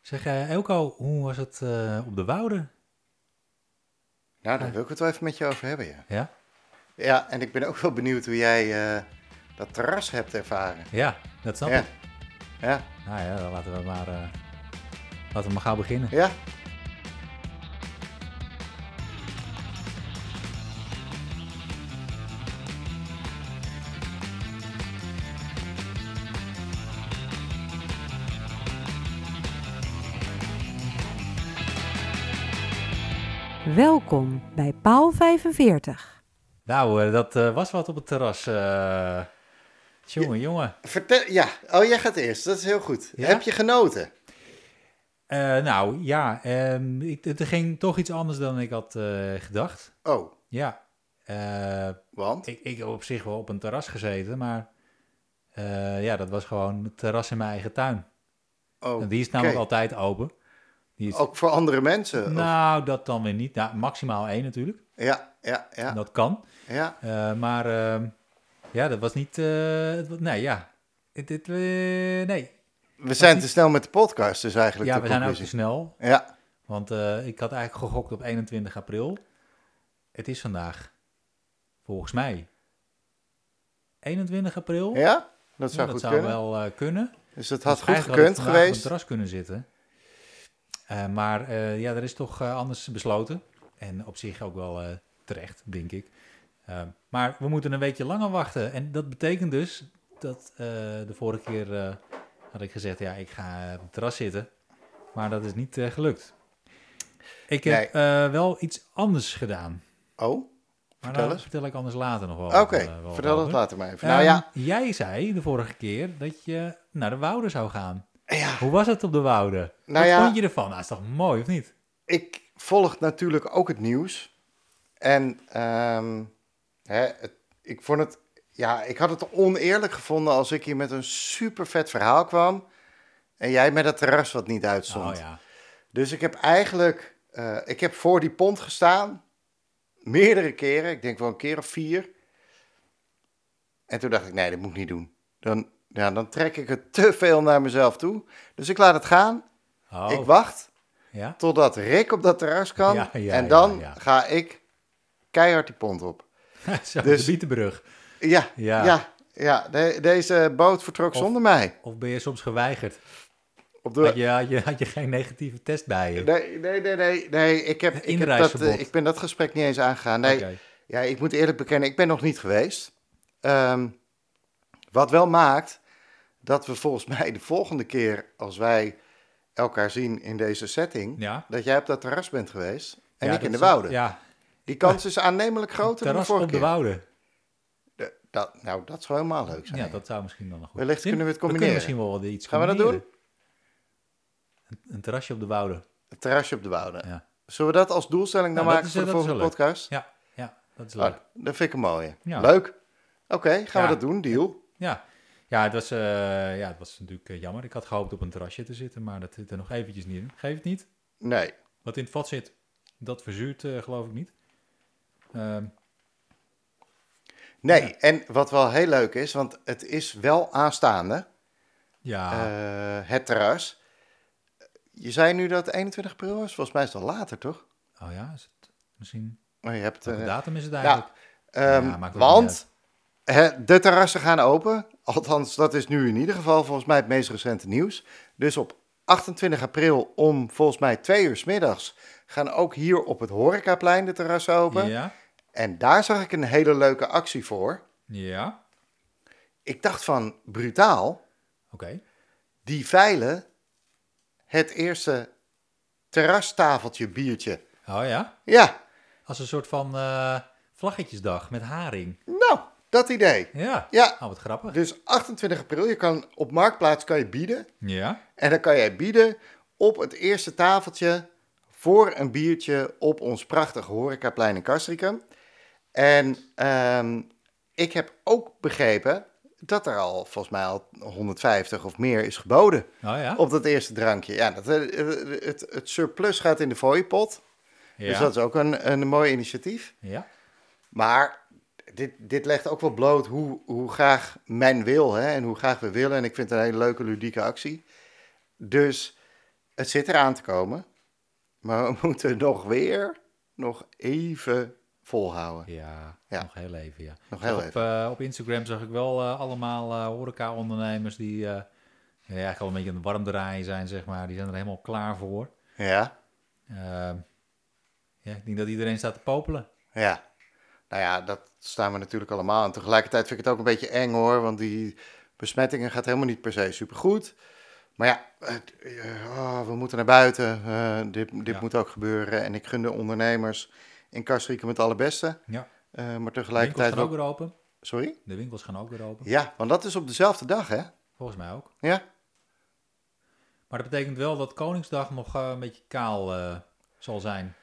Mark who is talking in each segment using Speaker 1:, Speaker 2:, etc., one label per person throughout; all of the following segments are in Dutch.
Speaker 1: Zeg, eh, Elko, hoe was het eh, op de Woude?
Speaker 2: Nou, daar wil ik het wel even met je over hebben, ja.
Speaker 1: Ja?
Speaker 2: Ja, en ik ben ook wel benieuwd hoe jij eh, dat terras hebt ervaren.
Speaker 1: Ja, dat snap
Speaker 2: ja.
Speaker 1: ik.
Speaker 2: ja,
Speaker 1: Nou ja, dan laten we maar, eh, laten we maar gaan beginnen.
Speaker 2: ja.
Speaker 3: Welkom bij Paal 45.
Speaker 1: Nou, eh, dat eh, was wat op het terras. eh jongen, jongen.
Speaker 2: Vertel, ja. Oh, jij gaat eerst. Dat is heel goed.
Speaker 1: Ja?
Speaker 2: Heb je genoten?
Speaker 1: Eh, nou ja, ehm, ik, het ging toch iets anders dan ik had eh, gedacht.
Speaker 2: Oh,
Speaker 1: Ja, eh,
Speaker 2: want?
Speaker 1: ik, ik heb op zich wel op een terras gezeten, maar eh, ja, dat was gewoon het terras in mijn eigen tuin.
Speaker 2: Oh,
Speaker 1: En die is namelijk
Speaker 2: oké.
Speaker 1: altijd open. Die is,
Speaker 2: Ook voor andere mensen? of-
Speaker 1: nou, dat dan weer niet. Nou, maximaal één natuurlijk.
Speaker 2: Ja, ja, ja,
Speaker 1: Dat kan.
Speaker 2: ja.
Speaker 1: Eh, maar ehm, ja, dat was niet. eh, het wa- nee, ja. Het- het, eh, nee.
Speaker 2: We zijn te snel met de podcast, dus eigenlijk
Speaker 1: Ja,
Speaker 2: de
Speaker 1: we zijn ook
Speaker 2: conclusie.
Speaker 1: te snel.
Speaker 2: Ja,
Speaker 1: Want eh, ik had eigenlijk gegokt op 21 april. Het is vandaag, volgens mij, 21 april. Nou,
Speaker 2: ja? Dat zou goed kunnen.
Speaker 1: wel eh, kunnen.
Speaker 2: Dus dat had
Speaker 1: Dus
Speaker 2: goed
Speaker 1: eigenlijk had het
Speaker 2: gekund
Speaker 1: vandaag op het
Speaker 2: geweest.
Speaker 1: terras kunnen zitten. Eh, maar eh, ja, er is toch eh, anders besloten. En op zich ook wel eh, terecht, denk ik. Eh, maar we moeten een beetje langer wachten. En dat betekent dus dat eh, de vorige keer eh, had ik gezegd... ja, ik ga eh, op het terras zitten. Maar dat is niet eh, gelukt. Ik heb eh, wel iets anders gedaan.
Speaker 2: Oh,
Speaker 1: Maar
Speaker 2: Vertel
Speaker 1: dat
Speaker 2: eens.
Speaker 1: vertel ik anders later nog wel.
Speaker 2: oké.
Speaker 1: eh, wel
Speaker 2: Vertel dat
Speaker 1: over.
Speaker 2: later maar even. nou
Speaker 1: Ehm,
Speaker 2: ja,
Speaker 1: Jij zei de vorige keer dat je naar de Woude zou gaan.
Speaker 2: ja,
Speaker 1: Hoe was het op de Woude?
Speaker 2: Nou
Speaker 1: Wat
Speaker 2: ja-
Speaker 1: vond je ervan? Nou, is toch mooi, of niet?
Speaker 2: ik volg natuurlijk ook het nieuws. En ehm, hè, het- ik vond het... Ja, ik had het oneerlijk gevonden als ik hier met een super vet verhaal kwam... en jij met dat terras wat niet uitstond.
Speaker 1: Oh ja.
Speaker 2: Dus ik heb eigenlijk, eh, ik heb voor die pont gestaan, meerdere keren, ik denk wel een keer of vier. En toen dacht ik, nee, dat moet ik niet doen. Dan, ja, dan trek ik het te veel naar mezelf toe. Dus ik laat het gaan,
Speaker 1: Oh,
Speaker 2: ik wacht
Speaker 1: ja?
Speaker 2: totdat Rick op dat terras kan.
Speaker 1: Ja, ja,
Speaker 2: en
Speaker 1: ja,
Speaker 2: dan
Speaker 1: ja.
Speaker 2: ga ik keihard die pont op.
Speaker 1: Zo,
Speaker 2: Dus-
Speaker 1: de Bietenbrug.
Speaker 2: Ja,
Speaker 1: Ja.
Speaker 2: ja, ja. de- deze boot vertrok
Speaker 1: Of-
Speaker 2: zonder mij.
Speaker 1: Of ben je soms geweigerd?
Speaker 2: Op
Speaker 1: Had je, had je, had je geen negatieve test bij je?
Speaker 2: Nee, nee, nee, nee, nee. Ik, heb, ik, heb dat,
Speaker 1: Inreisverbod.
Speaker 2: eh, ik ben dat gesprek niet eens aangegaan. Nee,
Speaker 1: Oké.
Speaker 2: Ja, ik moet eerlijk bekennen, ik ben nog niet geweest. Ehm, wat wel maakt dat we volgens mij de volgende keer als wij elkaar zien in deze setting,
Speaker 1: Ja.
Speaker 2: dat jij op dat terras bent geweest en
Speaker 1: Ja,
Speaker 2: ik in de
Speaker 1: dat-
Speaker 2: wouden.
Speaker 1: Ja,
Speaker 2: Die kans is aannemelijk groter dan de
Speaker 1: terras
Speaker 2: vorige
Speaker 1: op
Speaker 2: keer.
Speaker 1: de Woude.
Speaker 2: De- dat, nou, dat zou helemaal leuk zijn.
Speaker 1: Ja, dat zou misschien dan nog goed
Speaker 2: Wellicht kunnen we het
Speaker 1: kunnen
Speaker 2: combineren.
Speaker 1: misschien wel wat iets
Speaker 2: Gaan we dat
Speaker 1: combineren. Een, een terrasje op de Woude.
Speaker 2: Het terrasje op de wouden.
Speaker 1: Ja.
Speaker 2: Zullen we dat als doelstelling dan
Speaker 1: Nou, dat
Speaker 2: maken
Speaker 1: is-
Speaker 2: voor de
Speaker 1: dat is
Speaker 2: volgende
Speaker 1: wel leuk.
Speaker 2: podcast?
Speaker 1: Ja, ja, dat is leuk.
Speaker 2: Oh, dat vind ik een mooie.
Speaker 1: Ja.
Speaker 2: Leuk. Oké, gaan
Speaker 1: Ja.
Speaker 2: we dat doen, deal.
Speaker 1: Ja, ja, het, was, eh, ja het was natuurlijk eh, jammer. Ik had gehoopt op een terrasje te zitten, maar dat zit er nog eventjes niet in. Geeft niet.
Speaker 2: Nee.
Speaker 1: Wat in het vat zit, dat verzuurt eh, geloof ik niet. Ehm,
Speaker 2: Nee, en wat wel heel leuk is, want het is wel aanstaande,
Speaker 1: ja,
Speaker 2: eh, het terras. Je zei nu dat het 21 april is, volgens mij is het al later, toch?
Speaker 1: oh ja, is het misschien...
Speaker 2: Maar je hebt...
Speaker 1: Welke
Speaker 2: eh,
Speaker 1: datum is het
Speaker 2: ja,
Speaker 1: eigenlijk?
Speaker 2: ehm,
Speaker 1: Ja, maakt ook niet
Speaker 2: want hè, de terrassen gaan open. Althans, dat is nu in ieder geval volgens mij het meest recente nieuws. Dus op 28 april om volgens mij twee uur 's middags gaan ook hier op het Horecaplein de terrassen open.
Speaker 1: Ja,
Speaker 2: En daar zag ik een hele leuke actie voor.
Speaker 1: ja,
Speaker 2: Ik dacht van, brutaal,
Speaker 1: oké.
Speaker 2: die veilen het eerste terrastafeltje biertje.
Speaker 1: Oh ja,
Speaker 2: Ja,
Speaker 1: als een soort van eh, vlaggetjesdag met haring.
Speaker 2: nou, dat idee.
Speaker 1: Ja,
Speaker 2: Ja,
Speaker 1: oh, wat grappig.
Speaker 2: dus 28 april, je kan, op Marktplaats kan je bieden.
Speaker 1: Ja,
Speaker 2: En dan kan jij bieden op het eerste tafeltje voor een biertje op ons prachtige horecaplein in Castricum. En ehm, ik heb ook begrepen dat er al volgens mij al 150 of meer is geboden.
Speaker 1: oh ja.
Speaker 2: op dat eerste drankje. Ja, dat, eh, eh, het, het surplus gaat in de fooiepot.
Speaker 1: ja.
Speaker 2: Dus dat is ook een, een mooi initiatief.
Speaker 1: ja.
Speaker 2: Maar dit, dit legt ook wel bloot hoe, hoe graag men wil hè, en hoe graag we willen. En ik vind het een hele leuke, ludieke actie. Dus Het zit eraan te komen. Maar we moeten nog weer, nog even volhouden.
Speaker 1: Ja,
Speaker 2: Ja.
Speaker 1: nog heel even, ja.
Speaker 2: Nog heel
Speaker 1: op,
Speaker 2: even.
Speaker 1: eh, op Instagram zag ik wel eh, allemaal eh horeca-ondernemers die eh, ja, eigenlijk al een beetje aan het warm draaien zijn, zeg maar. Die zijn er helemaal klaar voor.
Speaker 2: Ja,
Speaker 1: Ehm, ja, ik denk dat iedereen staat te popelen.
Speaker 2: ja. Nou ja, dat staan we natuurlijk allemaal. En tegelijkertijd vind ik het ook een beetje eng hoor. Want die besmettingen gaat helemaal niet per se supergoed. Maar ja, het- eh, oh, we moeten naar buiten. Eh, dit dit
Speaker 1: Ja.
Speaker 2: moet ook gebeuren. En ik gun de ondernemers in Kastrikum het allerbeste.
Speaker 1: Ja.
Speaker 2: Eh, maar
Speaker 1: De winkels
Speaker 2: tegelijkertijd
Speaker 1: gaan ook
Speaker 2: ook...
Speaker 1: weer open.
Speaker 2: Sorry?
Speaker 1: De winkels gaan ook weer open.
Speaker 2: Ja, want dat is op dezelfde dag hè?
Speaker 1: Volgens mij ook.
Speaker 2: Ja,
Speaker 1: Maar dat betekent wel dat Koningsdag nog eh, een beetje kaal eh, zal zijn.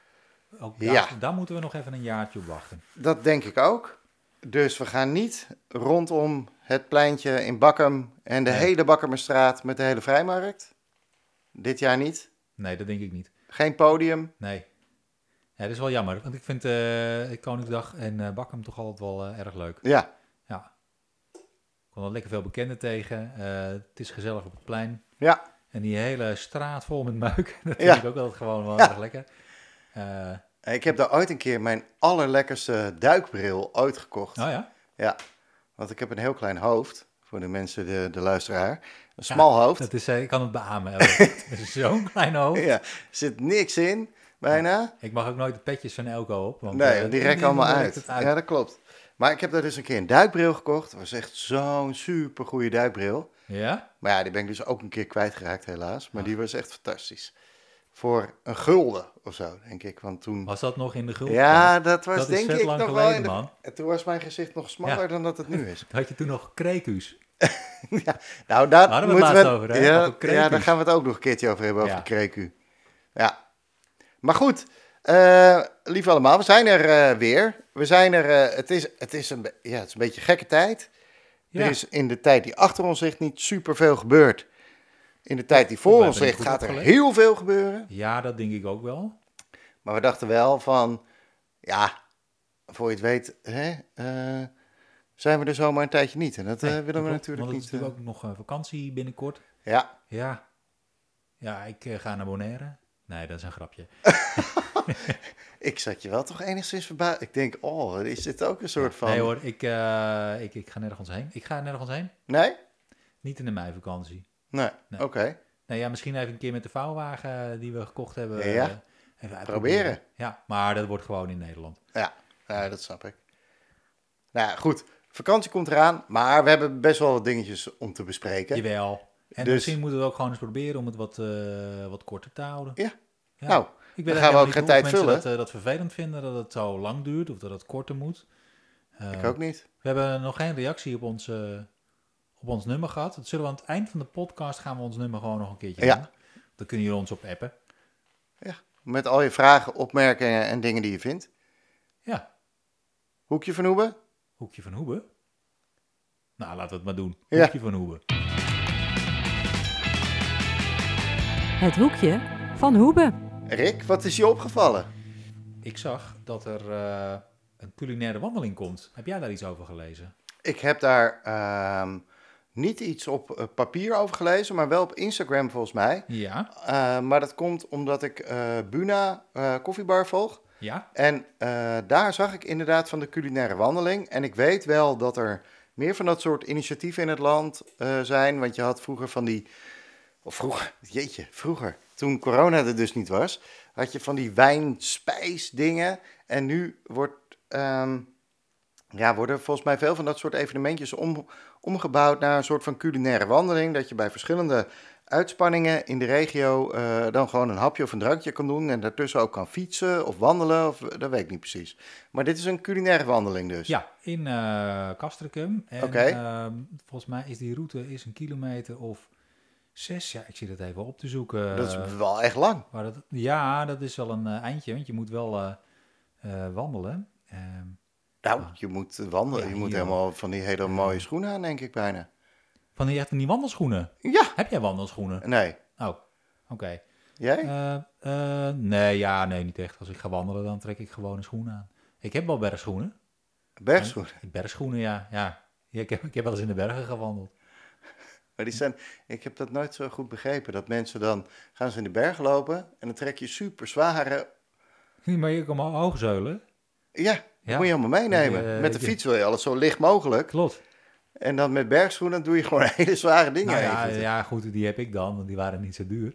Speaker 1: Ook daar,
Speaker 2: Ja.
Speaker 1: daar moeten we nog even een jaartje op wachten.
Speaker 2: dat denk ik ook. Dus we gaan niet rondom het pleintje in Bakkum en de
Speaker 1: Nee.
Speaker 2: hele Bakkermestraat met de hele vrijmarkt. Dit jaar niet.
Speaker 1: Nee, dat denk ik niet.
Speaker 2: Geen podium.
Speaker 1: Nee. Ja, dat is wel jammer, want ik vind eh, Koningsdag en eh Bakkum toch altijd wel eh, erg leuk.
Speaker 2: Ja,
Speaker 1: Ja. Ik kwam al lekker veel bekenden tegen. Eh, het is gezellig op het plein.
Speaker 2: ja,
Speaker 1: En die hele straat vol met muik. Dat
Speaker 2: Ja.
Speaker 1: vind ik ook altijd gewoon wel
Speaker 2: Ja.
Speaker 1: erg lekker. Eh,
Speaker 2: ik heb daar ooit een keer mijn allerlekkerste duikbril ooit gekocht.
Speaker 1: oh ja.
Speaker 2: Ja, want ik heb een heel klein hoofd. Voor de mensen, de, de luisteraar. Een smal hoofd.
Speaker 1: Dat is, eh, ik kan het beamen. Het is Zo'n klein hoofd.
Speaker 2: Ja, zit niks in, bijna.
Speaker 1: Ik mag ook nooit de petjes van Elko op. Want,
Speaker 2: Nee,
Speaker 1: eh,
Speaker 2: die rekken allemaal
Speaker 1: rekt
Speaker 2: uit.
Speaker 1: het
Speaker 2: Ja, dat klopt. Maar ik heb daar dus een keer een duikbril gekocht. Dat was echt zo'n supergoeie duikbril.
Speaker 1: Ja?
Speaker 2: Maar ja, die ben ik dus ook een keer kwijtgeraakt helaas. Maar die was echt fantastisch. Voor een gulden of zo, denk ik. Want toen...
Speaker 1: Was dat nog in de groep?
Speaker 2: Ja, dat was
Speaker 1: dat is
Speaker 2: denk
Speaker 1: vet
Speaker 2: ik
Speaker 1: lang
Speaker 2: nog wel
Speaker 1: geleden,
Speaker 2: in de...
Speaker 1: man.
Speaker 2: En toen was mijn gezicht nog smaller
Speaker 1: Ja.
Speaker 2: dan dat het nu is.
Speaker 1: Had je toen nog kreekuus?
Speaker 2: Nou,
Speaker 1: hadden
Speaker 2: daar
Speaker 1: we het
Speaker 2: moeten
Speaker 1: laatst over, hè?
Speaker 2: Ja,
Speaker 1: Over kreekuus.
Speaker 2: ja, daar gaan we het ook nog een keertje over hebben, over
Speaker 1: Ja.
Speaker 2: de kreku. Ja. Maar goed, eh lief allemaal, we zijn er eh, weer. We zijn er, eh, het, is, het, is een, be- ja, het is een beetje gekke tijd.
Speaker 1: Ja.
Speaker 2: Er is in de tijd die achter ons ligt niet superveel gebeurd. In de tijd die voor
Speaker 1: wij
Speaker 2: ons
Speaker 1: hebben niet
Speaker 2: ligt gaat
Speaker 1: goed
Speaker 2: er
Speaker 1: opgelet.
Speaker 2: heel veel gebeuren.
Speaker 1: Ja, dat denk ik ook wel.
Speaker 2: Maar we dachten wel van, ja, voor je het weet, hè, eh, zijn we er zomaar een tijdje niet. En dat eh,
Speaker 1: Nee,
Speaker 2: willen we
Speaker 1: klopt,
Speaker 2: natuurlijk
Speaker 1: Want
Speaker 2: niet.
Speaker 1: het is natuurlijk ook nog eh, vakantie binnenkort.
Speaker 2: eh, Ja,
Speaker 1: Ja. Ja, ik eh, ga naar Bonaire. Nee, dat is een grapje.
Speaker 2: Ik zat je wel toch enigszins verbaasd. Ik denk, oh, wat is dit ook een soort van...
Speaker 1: Nee hoor, ik, eh, ik, ik ga nergens heen. Ik ga nergens heen.
Speaker 2: Nee?
Speaker 1: Niet in de meivakantie.
Speaker 2: Nee.
Speaker 1: Nee.
Speaker 2: Oké.
Speaker 1: Nou ja, misschien even een keer met de vouwwagen die we gekocht hebben.
Speaker 2: Ja.
Speaker 1: eh, even uitproberen. Ja, maar dat wordt gewoon in Nederland.
Speaker 2: Ja, ja, dat snap ik. Nou ja, goed. Vakantie komt eraan, maar we hebben best wel wat dingetjes om te bespreken.
Speaker 1: Jawel. En
Speaker 2: Dus-
Speaker 1: misschien moeten we ook gewoon eens proberen om het wat, eh, wat korter te houden.
Speaker 2: Ja.
Speaker 1: Ja.
Speaker 2: Nou,
Speaker 1: ik
Speaker 2: dan
Speaker 1: weet
Speaker 2: gaan
Speaker 1: eigenlijk
Speaker 2: we ook
Speaker 1: niet
Speaker 2: geen
Speaker 1: of
Speaker 2: tijd
Speaker 1: mensen
Speaker 2: vullen.
Speaker 1: Dat, eh, dat vervelend vinden, dat het zo lang duurt of dat het korter moet. Eh,
Speaker 2: ik ook niet.
Speaker 1: We hebben nog geen reactie op ons, eh, op ons nummer gehad. Dat zullen we aan het eind van de podcast gaan we ons nummer gewoon nog een keertje
Speaker 2: Ja.
Speaker 1: doen. Dan kunnen jullie ons op appen.
Speaker 2: Met al je vragen, opmerkingen en dingen die je vindt.
Speaker 1: Ja,
Speaker 2: Hoekje van Hoeben?
Speaker 1: Hoekje van Hoebe. Nou, laten we het maar doen.
Speaker 2: Ja.
Speaker 1: Hoekje van Hoebe.
Speaker 3: Het hoekje van Hoebe.
Speaker 2: Rick, wat is je opgevallen?
Speaker 1: Ik zag dat er eh, een culinaire wandeling komt. Heb jij daar iets over gelezen?
Speaker 2: Ik heb daar ehm, niet iets op eh, papier over gelezen, maar wel op Instagram volgens mij.
Speaker 1: Ja.
Speaker 2: Eh, maar dat komt omdat ik eh, Buna eh, Koffiebar volg.
Speaker 1: Ja?
Speaker 2: En eh, daar zag ik inderdaad van de culinaire wandeling. En ik weet wel dat er meer van dat soort initiatieven in het land eh, zijn. Want je had vroeger van die. Of vroeger, jeetje, vroeger. Toen corona er dus niet was, had je van die wijn-spijs-dingen. En nu wordt, ehm, ja, worden volgens mij veel van dat soort evenementjes om, omgebouwd naar een soort van culinaire wandeling. Dat je bij verschillende uitspanningen in de regio eh, dan gewoon een hapje of een drankje kan doen. En daartussen ook kan fietsen of wandelen, of, eh, dat weet ik niet precies. Maar dit is een culinaire wandeling dus.
Speaker 1: Ja, in eh Castricum. En,
Speaker 2: Oké.
Speaker 1: ehm, volgens mij is die route is een kilometer of zes. Ja, ik zie dat even op te zoeken.
Speaker 2: dat is wel echt lang.
Speaker 1: Maar dat, ja, dat is wel een eh, eindje, want je moet wel eh, eh, wandelen. Ehm,
Speaker 2: Nou, je moet wandelen.
Speaker 1: Ja,
Speaker 2: je moet
Speaker 1: hier
Speaker 2: helemaal van die hele mooie schoenen aan, denk ik bijna.
Speaker 1: van die echt niet wandelschoenen.
Speaker 2: Ja.
Speaker 1: Heb jij wandelschoenen?
Speaker 2: Nee.
Speaker 1: Oh, oké.
Speaker 2: Jij?
Speaker 1: Eh, eh, nee, ja, nee, niet echt. Als ik ga wandelen, dan trek ik gewoon een schoen aan. Ik heb wel bergschoenen.
Speaker 2: Bergschoenen.
Speaker 1: Bergschoenen, ja. ja. ja ik, heb, ik heb wel eens in de bergen gewandeld.
Speaker 2: Maar die zijn, ik heb dat nooit zo goed begrepen. Dat mensen dan gaan ze in de berg lopen en dan trek je super zware.
Speaker 1: maar je kan allemaal hoogzeulen.
Speaker 2: Ja, dat
Speaker 1: Ja.
Speaker 2: moet je allemaal meenemen.
Speaker 1: Die, eh,
Speaker 2: met de
Speaker 1: die-
Speaker 2: fiets wil je alles zo licht mogelijk.
Speaker 1: Klopt.
Speaker 2: En dan met bergschoenen doe je gewoon hele zware dingen.
Speaker 1: Nou ja,
Speaker 2: even.
Speaker 1: ja, goed, die heb ik dan, want die waren niet zo duur.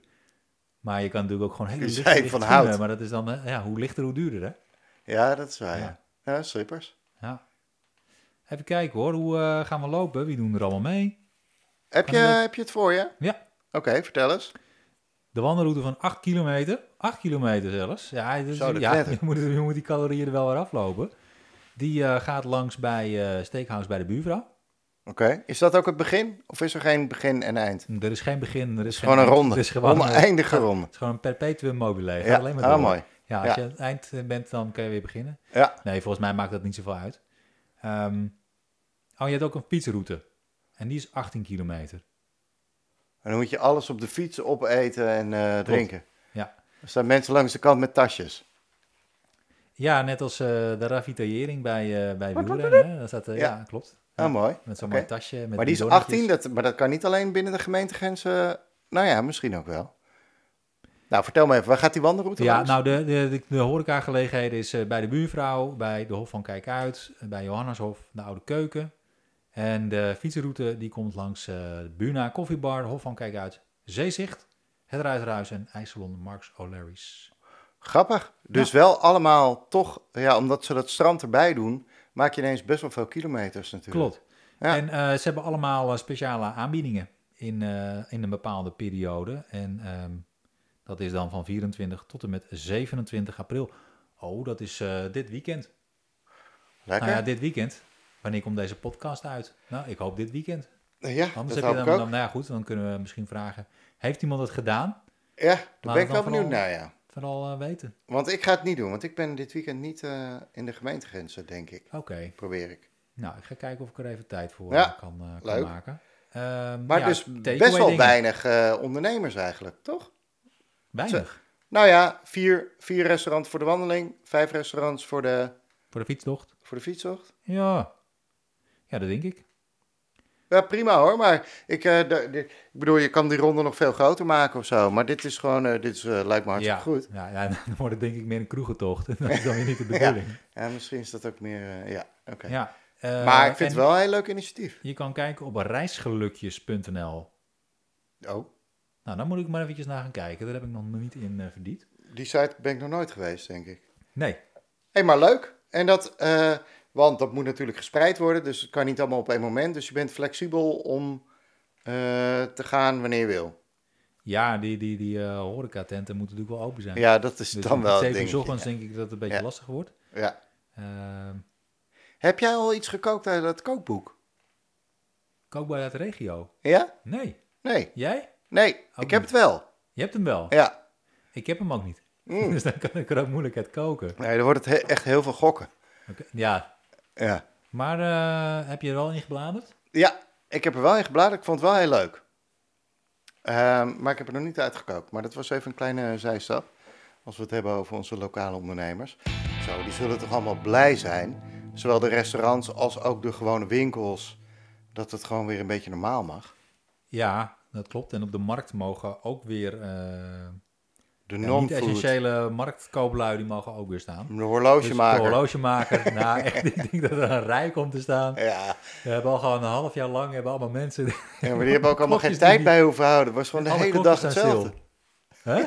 Speaker 1: Maar je kan natuurlijk ook gewoon hele
Speaker 2: Je
Speaker 1: lichte,
Speaker 2: zei
Speaker 1: lichte
Speaker 2: van
Speaker 1: schoenen,
Speaker 2: hout.
Speaker 1: Maar dat is dan, eh, ja, hoe lichter, hoe duurder, hè?
Speaker 2: Ja, dat is waar.
Speaker 1: Ja.
Speaker 2: Ja. Ja, slippers.
Speaker 1: Ja. Even kijken hoor, hoe eh, gaan we lopen? Wie doen er allemaal mee?
Speaker 2: Heb
Speaker 1: Kan
Speaker 2: je,
Speaker 1: dat-
Speaker 2: heb je het voor je?
Speaker 1: Ja.
Speaker 2: Oké, vertel eens.
Speaker 1: De wandelroute van 8 kilometer. 8 kilometer zelfs. Ja, dus,
Speaker 2: Zo, dat
Speaker 1: ja
Speaker 2: knetter.
Speaker 1: je, moet, je moet die calorieën er wel weer aflopen. Die eh, gaat langs bij eh Steakhouse bij de buurvrouw.
Speaker 2: Oké, is dat ook het begin? Of is er geen begin en eind?
Speaker 1: Er is geen begin. Er is geen
Speaker 2: Gewoon een
Speaker 1: eind.
Speaker 2: ronde.
Speaker 1: Er is gewoon, eh,
Speaker 2: Oneindige ronde.
Speaker 1: het is gewoon een perpetuum mobile. Het gaat
Speaker 2: Ja,
Speaker 1: alleen maar
Speaker 2: ah,
Speaker 1: door.
Speaker 2: mooi.
Speaker 1: Ja, als
Speaker 2: Ja.
Speaker 1: je aan het eind eh, bent, dan kun je weer beginnen.
Speaker 2: Ja.
Speaker 1: Nee, volgens mij maakt dat niet zoveel uit. Ehm, oh, je hebt ook een fietsroute. En die is 18 kilometer.
Speaker 2: En dan moet je alles op de fiets opeten en eh, drinken.
Speaker 1: Ja.
Speaker 2: Er staan mensen langs de kant met tasjes.
Speaker 1: Ja, net als eh, de ravitaillering bij, eh, bij wielrennen. hè. Dat staat, eh, ja.
Speaker 2: Ja.
Speaker 1: klopt.
Speaker 2: Ah, mooi.
Speaker 1: Met zo'n
Speaker 2: Oké.
Speaker 1: mooi tasje. Met
Speaker 2: maar die is
Speaker 1: bidonnetjes.
Speaker 2: 18, dat, maar dat kan niet alleen binnen de gemeentegrenzen. Nou ja, misschien ook wel. Nou, vertel me even, waar gaat die wandelroute
Speaker 1: Ja,
Speaker 2: langs?
Speaker 1: nou, de, de, de, de horecagelegenheden is eh, bij de buurvrouw, bij de Hof van Kijkuit, eh, bij Johanneshof, de Oude Keuken. En de fietsenroute die komt langs eh de Buna Koffiebar, Hof van Kijkuit, Zeezicht, Het Ruiterhuis en IJsselon Marks O'Larry's.
Speaker 2: Grappig. Dus wel allemaal toch, ja, omdat ze dat strand erbij doen, maak je ineens best wel veel kilometers natuurlijk.
Speaker 1: Klopt.
Speaker 2: Ja.
Speaker 1: En eh, ze hebben allemaal eh, speciale aanbiedingen in, eh, in een bepaalde periode. En ehm, dat is dan van 24 tot en met 27 april. Oh, dat is eh, dit weekend.
Speaker 2: Lekker.
Speaker 1: Nou ja, dit weekend. Wanneer komt deze podcast uit? Nou, ik hoop dit weekend.
Speaker 2: ja,
Speaker 1: Anders heb
Speaker 2: dat hoop
Speaker 1: je dan,
Speaker 2: ik ook.
Speaker 1: dan- nou ja, goed, dan kunnen we misschien vragen. Heeft iemand het gedaan?
Speaker 2: ja, daar ben
Speaker 1: het
Speaker 2: ik
Speaker 1: dan
Speaker 2: wel benieuwd
Speaker 1: vooral-
Speaker 2: naar, ja.
Speaker 1: Vooral eh, weten.
Speaker 2: Want ik ga het niet doen, want ik ben dit weekend niet eh, in de gemeentegrenzen, denk ik.
Speaker 1: Oké.
Speaker 2: Probeer ik.
Speaker 1: Nou, ik ga kijken of ik er even tijd voor
Speaker 2: Ja,
Speaker 1: eh, kan, eh, kan
Speaker 2: leuk.
Speaker 1: maken. Ehm,
Speaker 2: Maar
Speaker 1: ja,
Speaker 2: dus
Speaker 1: takeaway
Speaker 2: best wel
Speaker 1: dingen.
Speaker 2: weinig eh, ondernemers eigenlijk, toch?
Speaker 1: Weinig.
Speaker 2: Nou ja, vier, vier restaurants voor de wandeling, vijf restaurants voor de,
Speaker 1: Voor de fietstocht.
Speaker 2: voor de fietsocht.
Speaker 1: Ja. Ja, dat denk ik.
Speaker 2: Ja, prima hoor, maar ik, eh, de- de- ik bedoel, je kan die ronde nog veel groter maken of zo. Maar dit is gewoon, eh, dit is, eh, lijkt me
Speaker 1: ja.
Speaker 2: hartstikke goed.
Speaker 1: Ja, ja, dan wordt het denk ik meer een kroegentocht. Dat is dan weer niet de bedoeling.
Speaker 2: Ja, misschien is dat ook meer, eh, ja, oké.
Speaker 1: ja. eh,
Speaker 2: maar ik vind
Speaker 1: en
Speaker 2: het wel een heel leuk initiatief.
Speaker 1: Je kan kijken op reisgelukjes.nl.
Speaker 2: Oh,
Speaker 1: Nou, daar moet ik maar eventjes naar gaan kijken. Daar heb ik nog niet in eh, verdiept.
Speaker 2: die site ben ik nog nooit geweest, denk ik.
Speaker 1: Nee.
Speaker 2: Hé, maar leuk. En dat, eh, want dat moet natuurlijk gespreid worden, dus het kan niet allemaal op één moment. Dus je bent flexibel om eh, te gaan wanneer je wil.
Speaker 1: Ja, die, die, die eh horecatenten moeten natuurlijk wel open zijn.
Speaker 2: Ja, dat is
Speaker 1: Dus
Speaker 2: dan
Speaker 1: om
Speaker 2: wel het
Speaker 1: zeven
Speaker 2: ding.
Speaker 1: uur 's ochtends denk ik dat het een beetje
Speaker 2: Ja.
Speaker 1: lastig wordt.
Speaker 2: Ja.
Speaker 1: Ehm
Speaker 2: Heb jij al iets gekookt uit dat kookboek?
Speaker 1: kookbaar uit de regio?
Speaker 2: Ja?
Speaker 1: Nee.
Speaker 2: Nee.
Speaker 1: Jij?
Speaker 2: Nee, ik heb
Speaker 1: niet.
Speaker 2: het wel.
Speaker 1: Je hebt hem wel.
Speaker 2: Ja.
Speaker 1: Ik heb hem ook niet.
Speaker 2: Mm.
Speaker 1: Dus dan kan ik er ook moeilijk uit koken.
Speaker 2: Nee, dan wordt het he- echt heel veel gokken.
Speaker 1: Oké, Ja,
Speaker 2: Ja.
Speaker 1: Maar eh, heb je er wel in gebladerd?
Speaker 2: Ja, ik heb er wel in gebladerd. Ik vond het wel heel leuk. Ehm, maar ik heb er nog niet uitgekookt. Maar dat was even een kleine zijstap. Als we het hebben over onze lokale ondernemers. Zo, die zullen toch allemaal blij zijn. Zowel de restaurants als ook de gewone winkels. Dat het gewoon weer een beetje normaal mag.
Speaker 1: Ja, dat klopt. En op de markt mogen ook weer eh,
Speaker 2: De
Speaker 1: ja,
Speaker 2: non-food.
Speaker 1: niet-essentiële marktkooplui, die mogen ook weer staan.
Speaker 2: De
Speaker 1: Dus
Speaker 2: horlogemaker.
Speaker 1: De horlogemaker. nou, echt, ik denk dat er een rij komt te staan.
Speaker 2: Ja.
Speaker 1: We hebben al gewoon een half jaar lang hebben allemaal mensen...
Speaker 2: ja, maar die hebben ook allemaal
Speaker 1: Klokjes
Speaker 2: geen
Speaker 1: die
Speaker 2: tijd
Speaker 1: niet-
Speaker 2: bij hoeven houden. Het was gewoon de
Speaker 1: alle
Speaker 2: hele
Speaker 1: klokken
Speaker 2: dag
Speaker 1: staan
Speaker 2: hetzelfde.
Speaker 1: stil. Hè?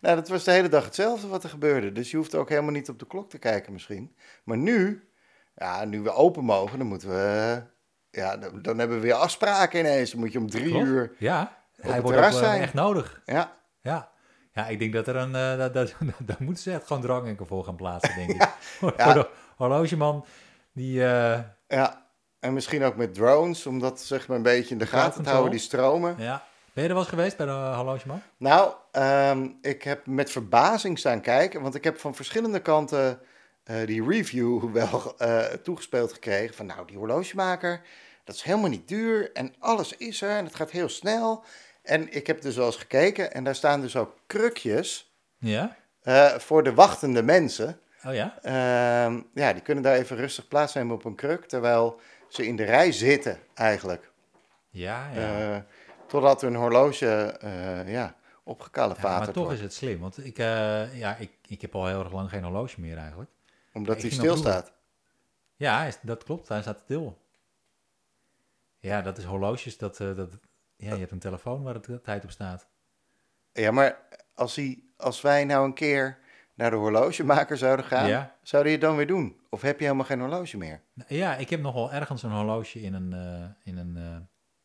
Speaker 2: Nou, dat was de hele dag hetzelfde wat er gebeurde. Dus je hoeft ook helemaal niet op de klok te kijken misschien. Maar nu, ja, nu we open mogen, dan moeten we... Ja, dan, dan hebben we weer afspraken ineens. Dan moet je om drie
Speaker 1: Klopt.
Speaker 2: uur...
Speaker 1: Ja, hij
Speaker 2: het
Speaker 1: wordt ook
Speaker 2: terras
Speaker 1: eh,
Speaker 2: zijn.
Speaker 1: echt nodig.
Speaker 2: Ja,
Speaker 1: Ja. ja, ik denk dat er een... eh, dat, dat, daar moeten ze echt gewoon drangenken voor gaan plaatsen, denk ik. Voor
Speaker 2: Ja.
Speaker 1: de horlogeman, die... eh,
Speaker 2: ja. En misschien ook met drones, om dat zeg maar een beetje in de gaten te
Speaker 1: Crowdcontrol.
Speaker 2: houden, die stromen.
Speaker 1: ja. Ben je er wel eens geweest bij de horlogeman?
Speaker 2: Nou, ehm, ik heb met verbazing staan kijken, want ik heb van verschillende kanten eh, die review wel eh, toegespeeld gekregen. Van nou, die horlogemaker, dat is helemaal niet duur en alles is er en het gaat heel snel. En ik heb dus wel eens gekeken en daar staan dus ook krukjes
Speaker 1: Ja?
Speaker 2: eh, voor de wachtende mensen.
Speaker 1: Oh ja?
Speaker 2: Ehm, ja, die kunnen daar even rustig plaatsnemen op een kruk, terwijl ze in de rij zitten eigenlijk.
Speaker 1: Ja, ja.
Speaker 2: Eh, Totdat hun horloge eh ja,
Speaker 1: Ja, maar
Speaker 2: opgekalefaterd
Speaker 1: toch
Speaker 2: wordt.
Speaker 1: is het slim, want ik, eh, ja, ik, ik heb al heel erg lang geen horloge meer eigenlijk.
Speaker 2: Omdat
Speaker 1: Ik
Speaker 2: hij
Speaker 1: ging nog
Speaker 2: stilstaat.
Speaker 1: Ja, hij is- dat klopt, hij staat stil. Ja, dat is horloges, dat, eh, dat, ja, je hebt een telefoon waar de tijd op staat.
Speaker 2: Ja, maar als, hij, als wij nou een keer naar de horlogemaker zouden gaan,
Speaker 1: Ja.
Speaker 2: zou je het dan weer doen? Of heb je helemaal geen horloge meer?
Speaker 1: Nou, Ja, ik heb nogal ergens een horloge in een, eh, in een, eh,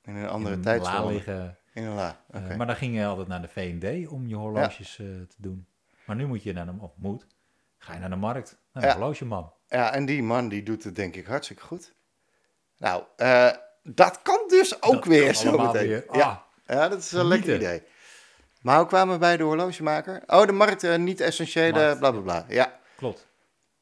Speaker 2: In een
Speaker 1: in
Speaker 2: andere
Speaker 1: een la
Speaker 2: tijdzone.
Speaker 1: liggen.
Speaker 2: In een la.
Speaker 1: Eh,
Speaker 2: oké.
Speaker 1: maar dan ging je altijd naar de V&D om je horloges eh, te doen. Maar nu moet je naar de, of moet, ga je naar de markt, naar de
Speaker 2: Ja.
Speaker 1: horlogeman.
Speaker 2: Ja, en die man die doet het denk ik hartstikke goed. Nou, eh, dat kan dus ook
Speaker 1: Dat
Speaker 2: weer
Speaker 1: kan
Speaker 2: zo
Speaker 1: allemaal
Speaker 2: meteen.
Speaker 1: weer.
Speaker 2: Ja.
Speaker 1: Ah,
Speaker 2: Ja, dat is een
Speaker 1: Genieten.
Speaker 2: lekker idee. Maar hoe kwamen we bij de horlogemaker? Oh, de markt, eh, niet essentiële,
Speaker 1: Markt,
Speaker 2: bla bla bla. Ja,
Speaker 1: Klopt.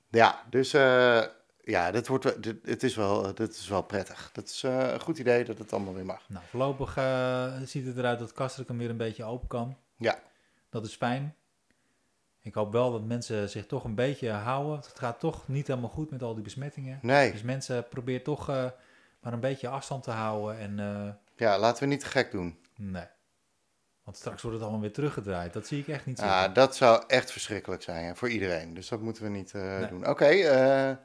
Speaker 2: ja dus eh, ja, dit wordt, wel- dit, het is wel, eh, dit is wel prettig. Dat is eh, een goed idee dat het allemaal weer mag.
Speaker 1: Nou, voorlopig eh, ziet het eruit dat Kastrikum weer een beetje open kan.
Speaker 2: Ja.
Speaker 1: Dat is fijn. Ik hoop wel dat mensen zich toch een beetje houden. Het gaat toch niet helemaal goed met al die besmettingen.
Speaker 2: Nee,
Speaker 1: Dus mensen probeer toch eh, maar een beetje afstand te houden. En eh,
Speaker 2: ja, laten we niet te gek doen.
Speaker 1: nee. Want straks wordt het allemaal weer teruggedraaid. Dat zie ik echt niet zitten.
Speaker 2: Ja, Ah, dat zou echt verschrikkelijk zijn hè, voor iedereen. Dus dat moeten we niet eh,
Speaker 1: Nee.
Speaker 2: doen. Oké, eh, eh,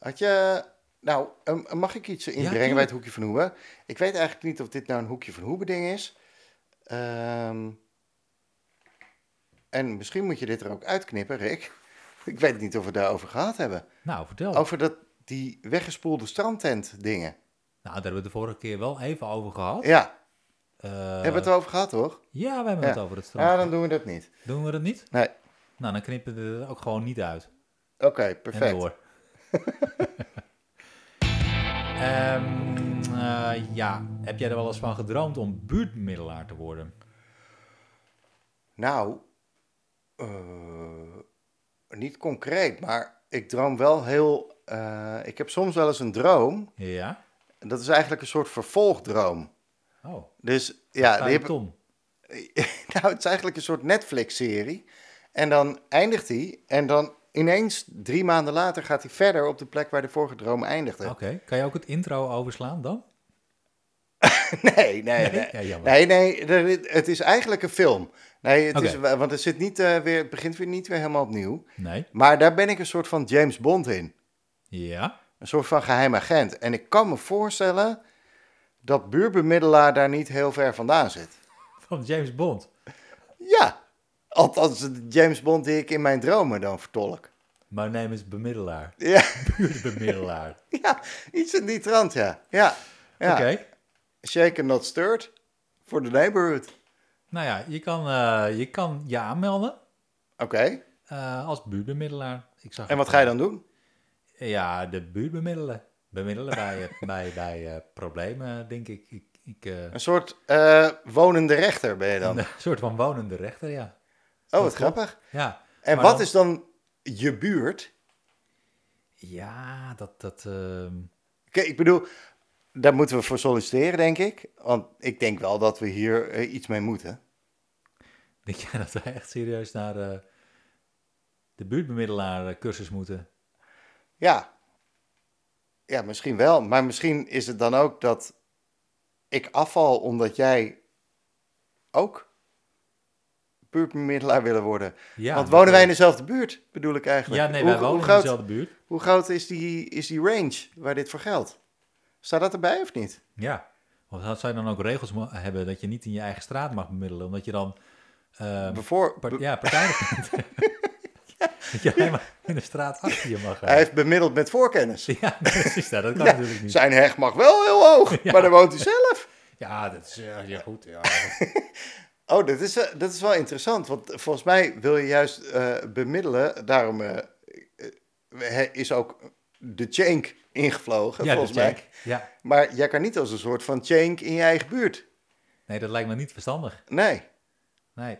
Speaker 2: had je... Nou, eh, mag ik iets inbrengen bij
Speaker 1: tuurlijk.
Speaker 2: het Hoekje van Hoeben? Ik weet eigenlijk niet of dit nou een Hoekje van Hoeben ding is. Ehm, en misschien moet je dit er ook uitknippen, Rick. Ik weet niet of we het daarover gehad hebben.
Speaker 1: Nou, vertel.
Speaker 2: Over dat, die weggespoelde strandtent dingen.
Speaker 1: Nou, daar hebben we het de vorige keer wel even over gehad.
Speaker 2: Ja,
Speaker 1: Oh. Eh,
Speaker 2: hebben we het over gehad, toch?
Speaker 1: Ja, we hebben
Speaker 2: Ja.
Speaker 1: het over het strand.
Speaker 2: Ja, dan doen we dat niet.
Speaker 1: Doen we dat niet?
Speaker 2: Nee.
Speaker 1: Nou, dan knippen we het er ook gewoon niet uit.
Speaker 2: Oké,
Speaker 1: En
Speaker 2: perfect.
Speaker 1: door. Ehm, eh, ja, heb jij er wel eens van gedroomd om buurtmiddelaar te worden?
Speaker 2: Nou, eh, niet concreet, maar ik droom wel heel. eh, ik heb soms wel eens een droom.
Speaker 1: Ja.
Speaker 2: Dat is eigenlijk een soort vervolgdroom.
Speaker 1: Oh,
Speaker 2: Dus ja,
Speaker 1: Tom.
Speaker 2: die heb, nou, het is eigenlijk een soort Netflix-serie. En dan eindigt die. En dan ineens drie maanden later gaat hij verder op de plek waar de vorige droom eindigde.
Speaker 1: Oké, kan je ook het intro overslaan dan?
Speaker 2: Nee, nee, nee.
Speaker 1: Ja, jammer.
Speaker 2: Nee, nee, er- het is eigenlijk een film. Nee, het
Speaker 1: Oké.
Speaker 2: is, want het, zit niet, eh, weer, het begint weer niet weer helemaal opnieuw.
Speaker 1: Nee.
Speaker 2: Maar daar ben ik een soort van James Bond in.
Speaker 1: Ja.
Speaker 2: Een soort van geheim agent. En ik kan me voorstellen dat buurbemiddelaar daar niet heel ver vandaan zit.
Speaker 1: Van James Bond.
Speaker 2: Ja, althans de James Bond die ik in mijn dromen dan vertolk.
Speaker 1: My name is bemiddelaar.
Speaker 2: Ja,
Speaker 1: Buurtbemiddelaar.
Speaker 2: ja iets in die trant, ja. Ja, ja.
Speaker 1: Oké.
Speaker 2: shaken not stirred voor de neighborhood.
Speaker 1: Nou ja, je kan, eh, je kan je aanmelden
Speaker 2: Oké,
Speaker 1: eh, als buurtbemiddelaar. Ik zag
Speaker 2: en wat
Speaker 1: het,
Speaker 2: ga je
Speaker 1: eh,
Speaker 2: dan doen?
Speaker 1: Ja, de buurt bemiddelen. Bemiddelen bij, eh, bij, bij eh, problemen, denk ik. ik, ik eh,
Speaker 2: Een soort eh, wonende rechter ben je dan.
Speaker 1: Een soort van wonende rechter, ja.
Speaker 2: Oh,
Speaker 1: dat
Speaker 2: wat
Speaker 1: klopt.
Speaker 2: grappig.
Speaker 1: Ja,
Speaker 2: En
Speaker 1: Maar
Speaker 2: wat
Speaker 1: dan-
Speaker 2: is dan je buurt?
Speaker 1: ja dat... dat ehm,
Speaker 2: Oké, ik bedoel, daar moeten we voor solliciteren, denk ik. Want ik denk wel dat we hier eh, iets mee moeten.
Speaker 1: denk jij dat wij echt serieus naar eh, de buurtbemiddelaar eh, cursus moeten?
Speaker 2: Ja. Ja, misschien wel. Maar misschien is het dan ook dat ik afval omdat jij ook buurtbemiddelaar willen worden.
Speaker 1: Ja,
Speaker 2: Want
Speaker 1: dat,
Speaker 2: wonen wij
Speaker 1: eh,
Speaker 2: in dezelfde buurt, bedoel ik eigenlijk.
Speaker 1: Ja, nee,
Speaker 2: Hoe-
Speaker 1: wij wonen
Speaker 2: hoe
Speaker 1: in
Speaker 2: groot,
Speaker 1: dezelfde buurt.
Speaker 2: Hoe groot is die, is die range waar dit voor geldt? Staat dat erbij of niet?
Speaker 1: Ja. Want zou- zou je dan ook regels mo- hebben dat je niet in je eigen straat mag bemiddelen? Omdat je dan ehm
Speaker 2: Bevoor,
Speaker 1: par-
Speaker 2: be-
Speaker 1: ja, partijdig bent. dat je alleen maar in de straat achter je mag. eh.
Speaker 2: Hij heeft bemiddeld met voorkennis.
Speaker 1: Ja, precies. nou, dat kan
Speaker 2: Ja,
Speaker 1: natuurlijk niet.
Speaker 2: Zijn heg mag wel heel hoog, maar daar woont hij zelf.
Speaker 1: Ja, dat is eh, ja, goed. Ja.
Speaker 2: Oh, dat is, eh, dat is wel interessant, want volgens mij wil je juist eh, bemiddelen. Daarom eh, eh, is ook de chank ingevlogen,
Speaker 1: Ja,
Speaker 2: volgens
Speaker 1: dat
Speaker 2: mij.
Speaker 1: check. Ja.
Speaker 2: Maar jij kan niet als een soort van chank in je eigen buurt.
Speaker 1: Nee, dat lijkt me niet verstandig.
Speaker 2: Nee,
Speaker 1: Nee.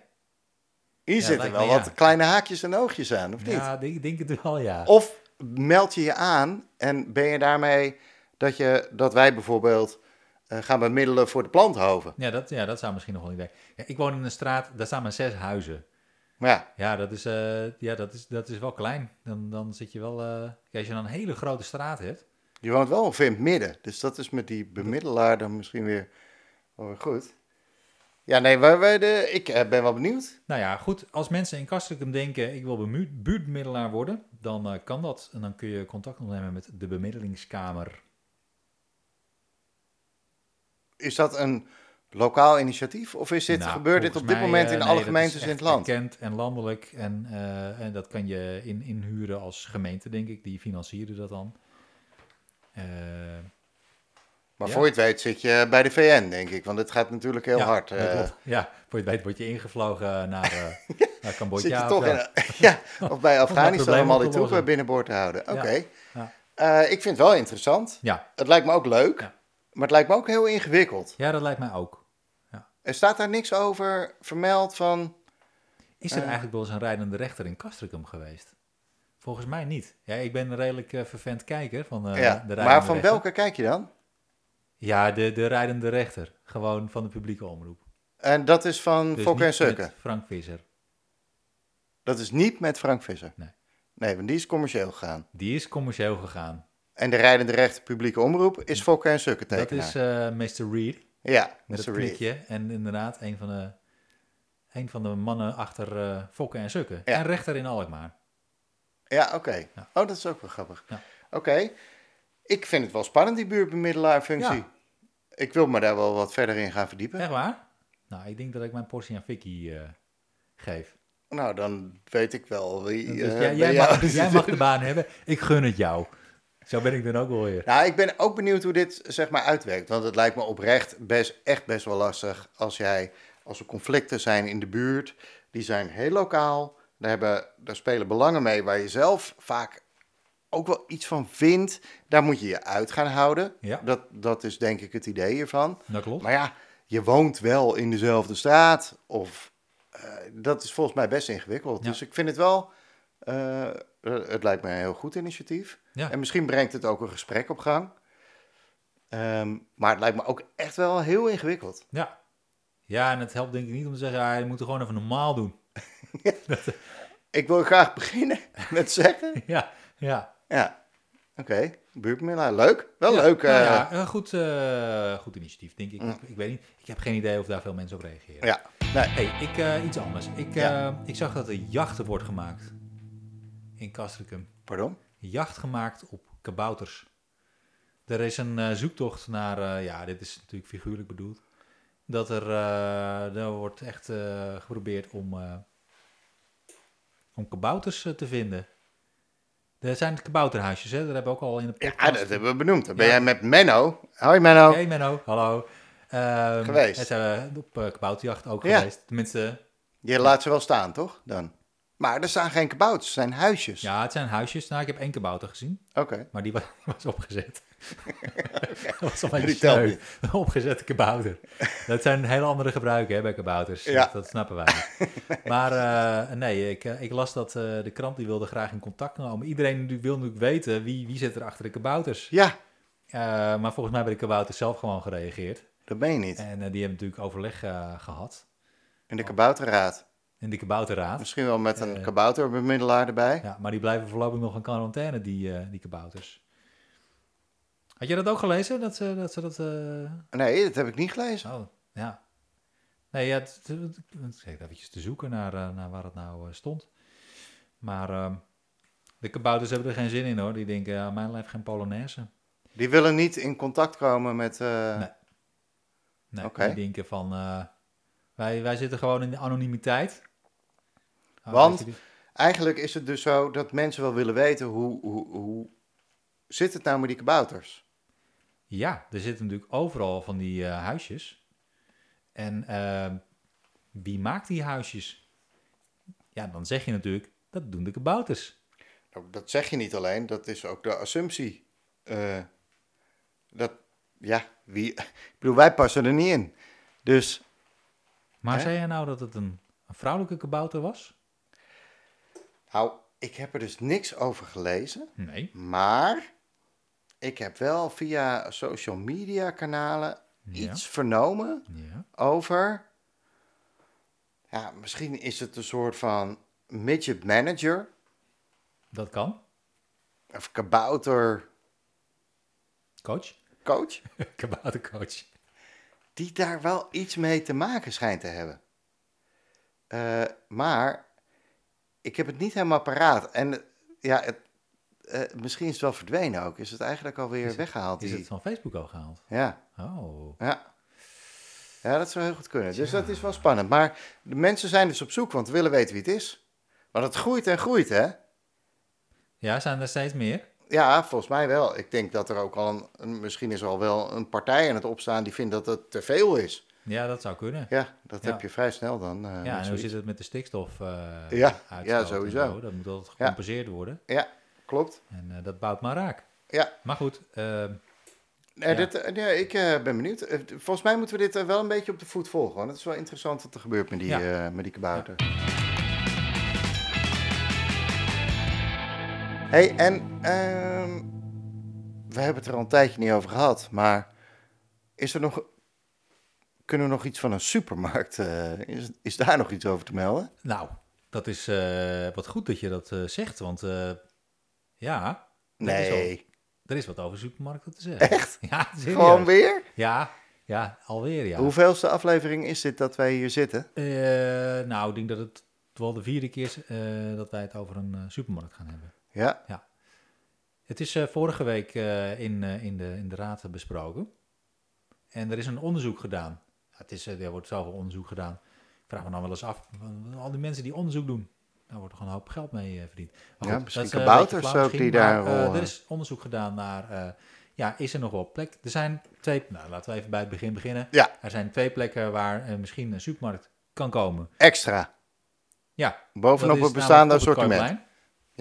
Speaker 2: hier
Speaker 1: Ja,
Speaker 2: zitten
Speaker 1: lijkt
Speaker 2: wel
Speaker 1: me, ja.
Speaker 2: wat kleine haakjes en oogjes aan, of niet?
Speaker 1: Ja, ik denk, het wel, ja.
Speaker 2: Of meld je je aan en ben je daarmee dat, je, dat wij bijvoorbeeld eh, gaan bemiddelen voor de planthoven.
Speaker 1: Ja dat, ja, dat zou misschien nog wel een idee. Ja, ik woon in een straat, daar staan maar zes huizen.
Speaker 2: Maar ja,
Speaker 1: Ja, dat is, eh, ja, dat is, dat is wel klein. Dan, dan zit je wel... eh, kijk, als je dan een hele grote straat hebt...
Speaker 2: Je woont wel ongeveer in het midden, dus dat is met die bemiddelaar dan misschien weer Hoor goed. Ja, nee, wij, wij de, ik eh, ben wel benieuwd.
Speaker 1: Nou ja, goed. Als mensen in Kastrikum denken, ik wil bemu- buurtmiddelaar worden, dan eh, kan dat. En dan kun je contact opnemen met de bemiddelingskamer.
Speaker 2: Is dat een lokaal initiatief of is dit,
Speaker 1: Nou,
Speaker 2: gebeurt dit op
Speaker 1: volgens mij,
Speaker 2: dit moment
Speaker 1: eh,
Speaker 2: in
Speaker 1: nee,
Speaker 2: alle
Speaker 1: dat is
Speaker 2: gemeentes in
Speaker 1: echt
Speaker 2: het land?
Speaker 1: Erkend en landelijk. En, eh, en dat kan je in, inhuren als gemeente, denk ik. Die financieren dat dan. Eh,
Speaker 2: Maar
Speaker 1: Ja.
Speaker 2: voor je het weet zit je bij de VN, denk ik. Want het gaat natuurlijk heel
Speaker 1: ja,
Speaker 2: hard.
Speaker 1: dat
Speaker 2: eh.
Speaker 1: klopt. Ja, voor je het weet word je ingevlogen naar, eh, naar Cambodja.
Speaker 2: zit je
Speaker 1: of
Speaker 2: toch
Speaker 1: zo.
Speaker 2: in, ja, of bij Afghanistan
Speaker 1: problemen
Speaker 2: om al die
Speaker 1: op te lossen.
Speaker 2: troepen binnenboord te houden. Oké.
Speaker 1: Ja, ja.
Speaker 2: Eh, ik vind het wel interessant.
Speaker 1: Ja.
Speaker 2: Het lijkt me ook leuk,
Speaker 1: Ja.
Speaker 2: maar het lijkt me ook heel ingewikkeld.
Speaker 1: ja, dat lijkt mij ook.
Speaker 2: Er staat daar niks over vermeld van...
Speaker 1: Is er
Speaker 2: Eh.
Speaker 1: eigenlijk wel eens een rijdende rechter in Castricum geweest? Volgens mij niet. Ja, ik ben een redelijk eh, vervent kijker van eh, de
Speaker 2: ja,
Speaker 1: rijdende
Speaker 2: maar van
Speaker 1: rechter.
Speaker 2: welke kijk je dan?
Speaker 1: Ja, de, de rijdende rechter. Gewoon van de publieke omroep.
Speaker 2: En dat is van
Speaker 1: Dus
Speaker 2: Fokker en
Speaker 1: niet met
Speaker 2: Sukker.
Speaker 1: Frank Visser.
Speaker 2: Dat is niet met Frank Visser.
Speaker 1: Nee.
Speaker 2: Nee, want die is commercieel gegaan.
Speaker 1: Die is commercieel gegaan.
Speaker 2: En de rijdende rechter publieke omroep is Fokker en Sukker
Speaker 1: Dat
Speaker 2: tekenaar.
Speaker 1: is eh Mr. Reed.
Speaker 2: ja,
Speaker 1: Met
Speaker 2: Mr.
Speaker 1: dat
Speaker 2: Reed.
Speaker 1: knikje. En inderdaad, een van de, een van de mannen achter eh, Fokken en Sukken.
Speaker 2: Ja.
Speaker 1: En rechter in Alkmaar.
Speaker 2: Ja, oké.
Speaker 1: Ja.
Speaker 2: Oh, dat is ook wel grappig.
Speaker 1: Ja.
Speaker 2: Oké. Ik vind het wel spannend, die buurtbemiddelaarfunctie.
Speaker 1: Ja.
Speaker 2: Ik wil me daar wel wat verder in gaan verdiepen.
Speaker 1: Echt waar? Nou, ik denk dat ik mijn portie aan Vicky eh, geef.
Speaker 2: Nou, dan weet ik wel wie.
Speaker 1: Dus
Speaker 2: eh,
Speaker 1: jij,
Speaker 2: bij
Speaker 1: jij,
Speaker 2: jou
Speaker 1: mag,
Speaker 2: zit.
Speaker 1: jij mag de baan hebben. Ik gun het jou. Zo ben ik dan ook wel weer.
Speaker 2: Nou, ik ben ook benieuwd hoe dit zeg maar uitwerkt. Want het lijkt me oprecht best, echt best wel lastig als, jij, als er conflicten zijn in de buurt. Die zijn heel lokaal. Daar, hebben, daar spelen belangen mee waar je zelf vaak ook wel iets van vindt. Daar moet je je uit gaan houden.
Speaker 1: Ja.
Speaker 2: Dat, dat is denk ik het idee hiervan.
Speaker 1: Dat klopt.
Speaker 2: Maar ja, je woont wel in dezelfde straat. Of, eh, dat is volgens mij best ingewikkeld.
Speaker 1: Ja.
Speaker 2: Dus ik vind het wel. eh, eh, het lijkt me een heel goed initiatief.
Speaker 1: Ja.
Speaker 2: En misschien brengt het ook een gesprek op gang. Ehm, maar het lijkt me ook echt wel heel ingewikkeld.
Speaker 1: Ja. Ja, en het helpt denk ik niet om te zeggen, ja, je moet het gewoon even normaal doen.
Speaker 2: Ik wil graag beginnen met zeggen.
Speaker 1: Ja, ja.
Speaker 2: Ja, oké. Buurtmiddelaar, leuk. Wel
Speaker 1: Ja,
Speaker 2: leuk.
Speaker 1: nou
Speaker 2: eh,
Speaker 1: ja, een goed, eh, goed initiatief, denk ik.
Speaker 2: Mm.
Speaker 1: ik. Ik weet niet, ik heb geen idee of daar veel mensen op reageren.
Speaker 2: Ja. Nee.
Speaker 1: Hey, ik, eh, iets anders. Ik,
Speaker 2: Ja.
Speaker 1: eh, ik zag dat er jachten wordt gemaakt in Castricum.
Speaker 2: Pardon?
Speaker 1: Jacht gemaakt op kabouters. Er is een eh, zoektocht naar, eh, ja, dit is natuurlijk figuurlijk bedoeld, dat er, eh, er wordt echt eh, geprobeerd om, eh, om kabouters eh, te vinden. Er zijn kabouterhuisjes, hè? dat hebben we ook al in de podcast.
Speaker 2: Ja, dat hebben we benoemd. Dan ben
Speaker 1: Ja.
Speaker 2: jij met Menno. Hoi Menno.
Speaker 1: Hey Menno, hallo. Ehm,
Speaker 2: Geweest.
Speaker 1: en zijn we op eh, kabouterjacht ook
Speaker 2: Ja.
Speaker 1: geweest. Tenminste,
Speaker 2: Je laat ze wel staan, toch? Dan. Maar er staan geen kabouters, er zijn huisjes.
Speaker 1: ja, het zijn huisjes. Nou, ik heb één kabouter gezien.
Speaker 2: Oké.
Speaker 1: Maar die was, die was opgezet. dat was al een
Speaker 2: Die
Speaker 1: beetje
Speaker 2: telt
Speaker 1: sneu. Een opgezette kabouter. Dat zijn hele andere gebruiken hè, bij kabouters.
Speaker 2: Ja.
Speaker 1: Dat, dat snappen wij niet. Maar eh, nee, ik, eh, ik las dat eh, de krant die wilde graag in contact komen. Iedereen natuurlijk- wil natuurlijk weten wie, wie zit er achter de kabouters.
Speaker 2: Ja,
Speaker 1: Eh, maar volgens mij hebben de kabouters zelf gewoon gereageerd.
Speaker 2: dat ben je niet.
Speaker 1: En eh, die hebben natuurlijk overleg eh, gehad.
Speaker 2: In de kabouterraad.
Speaker 1: In de kabouterraad.
Speaker 2: Misschien wel met een
Speaker 1: Eh.
Speaker 2: kabouterbemiddelaar erbij.
Speaker 1: Ja, maar die blijven voorlopig nog in quarantaine, die, eh, die kabouters. Had jij dat ook gelezen? Dat ze dat... Ze dat eh,
Speaker 2: Nee, dat heb ik niet gelezen.
Speaker 1: Oh, ja. Nee, ja, het, het, het- het- ik zat eventjes te zoeken naar, eh, naar waar het nou eh, stond. Maar ehm, de kabouters hebben er geen zin in hoor. Die denken, ja, mijn lijf geen Polonaise.
Speaker 2: Die willen niet in contact komen met... eh,
Speaker 1: Nee. Nee,
Speaker 2: Oké.
Speaker 1: die denken van, eh, wij, wij zitten gewoon in de anonimiteit. Oh, weet
Speaker 2: Want-
Speaker 1: je die-
Speaker 2: Eigenlijk is het dus zo dat mensen wel willen weten hoe, hoe, hoe zit het nou met die kabouters?
Speaker 1: Ja, er zitten natuurlijk overal van die eh, huisjes. En ehm, wie maakt die huisjes? Ja, dan zeg je natuurlijk, dat doen de kabouters.
Speaker 2: Nou, dat zeg je niet alleen, dat is ook de assumptie. Eh, dat, ja, wie... Ik bedoel, wij passen er niet in. Dus
Speaker 1: Maar
Speaker 2: Hè?
Speaker 1: zei jij nou dat het een, een vrouwelijke kabouter was?
Speaker 2: Nou, ik heb er dus niks over gelezen.
Speaker 1: Nee.
Speaker 2: Maar ik heb wel via social media kanalen
Speaker 1: Ja.
Speaker 2: iets vernomen
Speaker 1: Ja.
Speaker 2: over. Ja, misschien is het een soort van midget manager
Speaker 1: Dat kan.
Speaker 2: of kabouter
Speaker 1: Coach?
Speaker 2: coach.
Speaker 1: Kaboutercoach.
Speaker 2: die daar wel iets mee te maken schijnt te hebben. Eh, maar ik heb het niet helemaal paraat. En eh, ja, het, eh, misschien is het wel verdwenen ook. Is het eigenlijk alweer
Speaker 1: Is het-
Speaker 2: weggehaald?
Speaker 1: Is
Speaker 2: die-
Speaker 1: het van Facebook al gehaald?
Speaker 2: Ja.
Speaker 1: Oh.
Speaker 2: Ja. Ja, dat zou heel goed kunnen. Dus dat is wel spannend. Maar de mensen zijn dus op zoek, want we willen weten wie het is. Want het groeit en groeit, hè?
Speaker 1: Ja, zijn er steeds meer?
Speaker 2: Ja, volgens mij wel. Ik denk dat er ook al een, een- misschien is er al wel een partij aan het opstaan die vindt dat het te veel is.
Speaker 1: Ja, dat zou kunnen.
Speaker 2: Ja, dat
Speaker 1: Ja.
Speaker 2: heb je vrij snel dan. eh,
Speaker 1: Ja,
Speaker 2: met
Speaker 1: en hoe
Speaker 2: zoiets.
Speaker 1: zit het met de stikstof? eh,
Speaker 2: Ja,
Speaker 1: uitstoot
Speaker 2: ja,
Speaker 1: en
Speaker 2: sowieso.
Speaker 1: zo? Dat moet altijd gecompenseerd worden.
Speaker 2: Ja, klopt.
Speaker 1: En eh, dat bouwt maar raak.
Speaker 2: Ja,
Speaker 1: Maar goed, eh,
Speaker 2: nee,
Speaker 1: Ja.
Speaker 2: Dit, eh, nee, ik eh, ben benieuwd. Eh, d- volgens mij moeten we dit eh, wel een beetje op de voet volgen. Want het is wel interessant wat er gebeurt met die,
Speaker 1: Ja.
Speaker 2: eh, met die kabouter. hey, en ehm, we hebben het er al een tijdje niet over gehad, maar is er nog, kunnen we nog iets van een supermarkt, eh, is, is daar nog iets over te melden?
Speaker 1: nou, dat is eh, wat goed dat je dat eh, zegt. Want eh, ja, is al-
Speaker 2: Nee,
Speaker 1: er is wat over supermarkten te zeggen.
Speaker 2: Echt?
Speaker 1: Ja, serieus.
Speaker 2: gewoon weer?
Speaker 1: Ja, ja alweer ja.
Speaker 2: Hoeveelste aflevering is dit dat wij hier zitten?
Speaker 1: Eh, nou, ik denk dat het wel de vierde keer is eh, dat wij het over een eh, supermarkt gaan hebben.
Speaker 2: Ja,
Speaker 1: Het is eh, vorige week eh, in, eh, in, de, in de Raad besproken. En er is een onderzoek gedaan. Het is, eh, er wordt zoveel onderzoek gedaan. Ik vraag me nou wel eens af, van al die mensen die onderzoek doen, daar wordt gewoon een hoop geld mee eh, verdiend. Maar
Speaker 2: Ja,
Speaker 1: goed,
Speaker 2: misschien
Speaker 1: dat is, eh,
Speaker 2: kabouters
Speaker 1: een beetje flauw
Speaker 2: ook die
Speaker 1: misschien,
Speaker 2: daar
Speaker 1: maar, eh,
Speaker 2: rollen.
Speaker 1: er is onderzoek gedaan naar, eh, ja, is er nog wel plek? Er zijn twee, nou laten we even bij het begin beginnen.
Speaker 2: Ja.
Speaker 1: Er zijn twee plekken waar eh, misschien een supermarkt kan komen.
Speaker 2: extra.
Speaker 1: Ja.
Speaker 2: Bovenop
Speaker 1: dat is
Speaker 2: het bestaande
Speaker 1: namelijk op het
Speaker 2: assortiment.
Speaker 1: Koopplein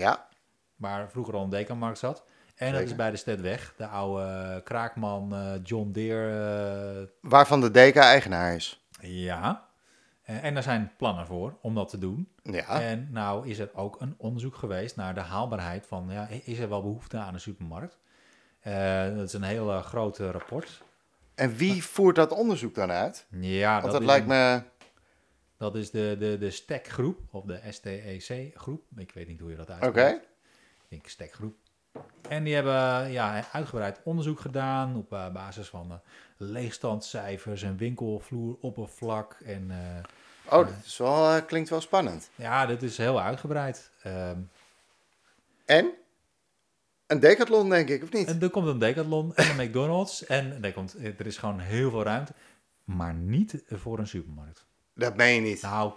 Speaker 2: Ja,
Speaker 1: waar vroeger al een dekenmarkt zat. En dat
Speaker 2: Zeker.
Speaker 1: is bij de Stedweg, de oude eh, kraakman eh, John Deere. eh,
Speaker 2: waarvan de deka eigenaar is.
Speaker 1: ja. Eh, en daar zijn plannen voor om dat te doen.
Speaker 2: Ja,
Speaker 1: En nou is er ook een onderzoek geweest naar de haalbaarheid van, ja, is er wel behoefte aan een supermarkt? Eh, dat is een heel eh, groot eh, rapport.
Speaker 2: en wie voert dat onderzoek dan uit?
Speaker 1: Ja,
Speaker 2: Want dat,
Speaker 1: is
Speaker 2: lijkt
Speaker 1: een-
Speaker 2: me...
Speaker 1: Dat is de, de, de STEC-groep, of de STEC-groep. Ik weet niet hoe je dat
Speaker 2: Oké,
Speaker 1: uitspreekt. Ik denk stekgroep. En die hebben ja, uitgebreid onderzoek gedaan op eh, basis van eh, leegstandscijfers en winkelvloeroppervlak. En eh,
Speaker 2: oh, dat is wel, eh, klinkt wel spannend.
Speaker 1: ja, dit is heel uitgebreid. Ehm,
Speaker 2: En? Een decathlon, denk ik, of niet?
Speaker 1: en er komt een Decathlon en een McDonald's. En er, komt, eh, er is gewoon heel veel ruimte. Maar niet voor een supermarkt.
Speaker 2: Dat meen je niet.
Speaker 1: Nou,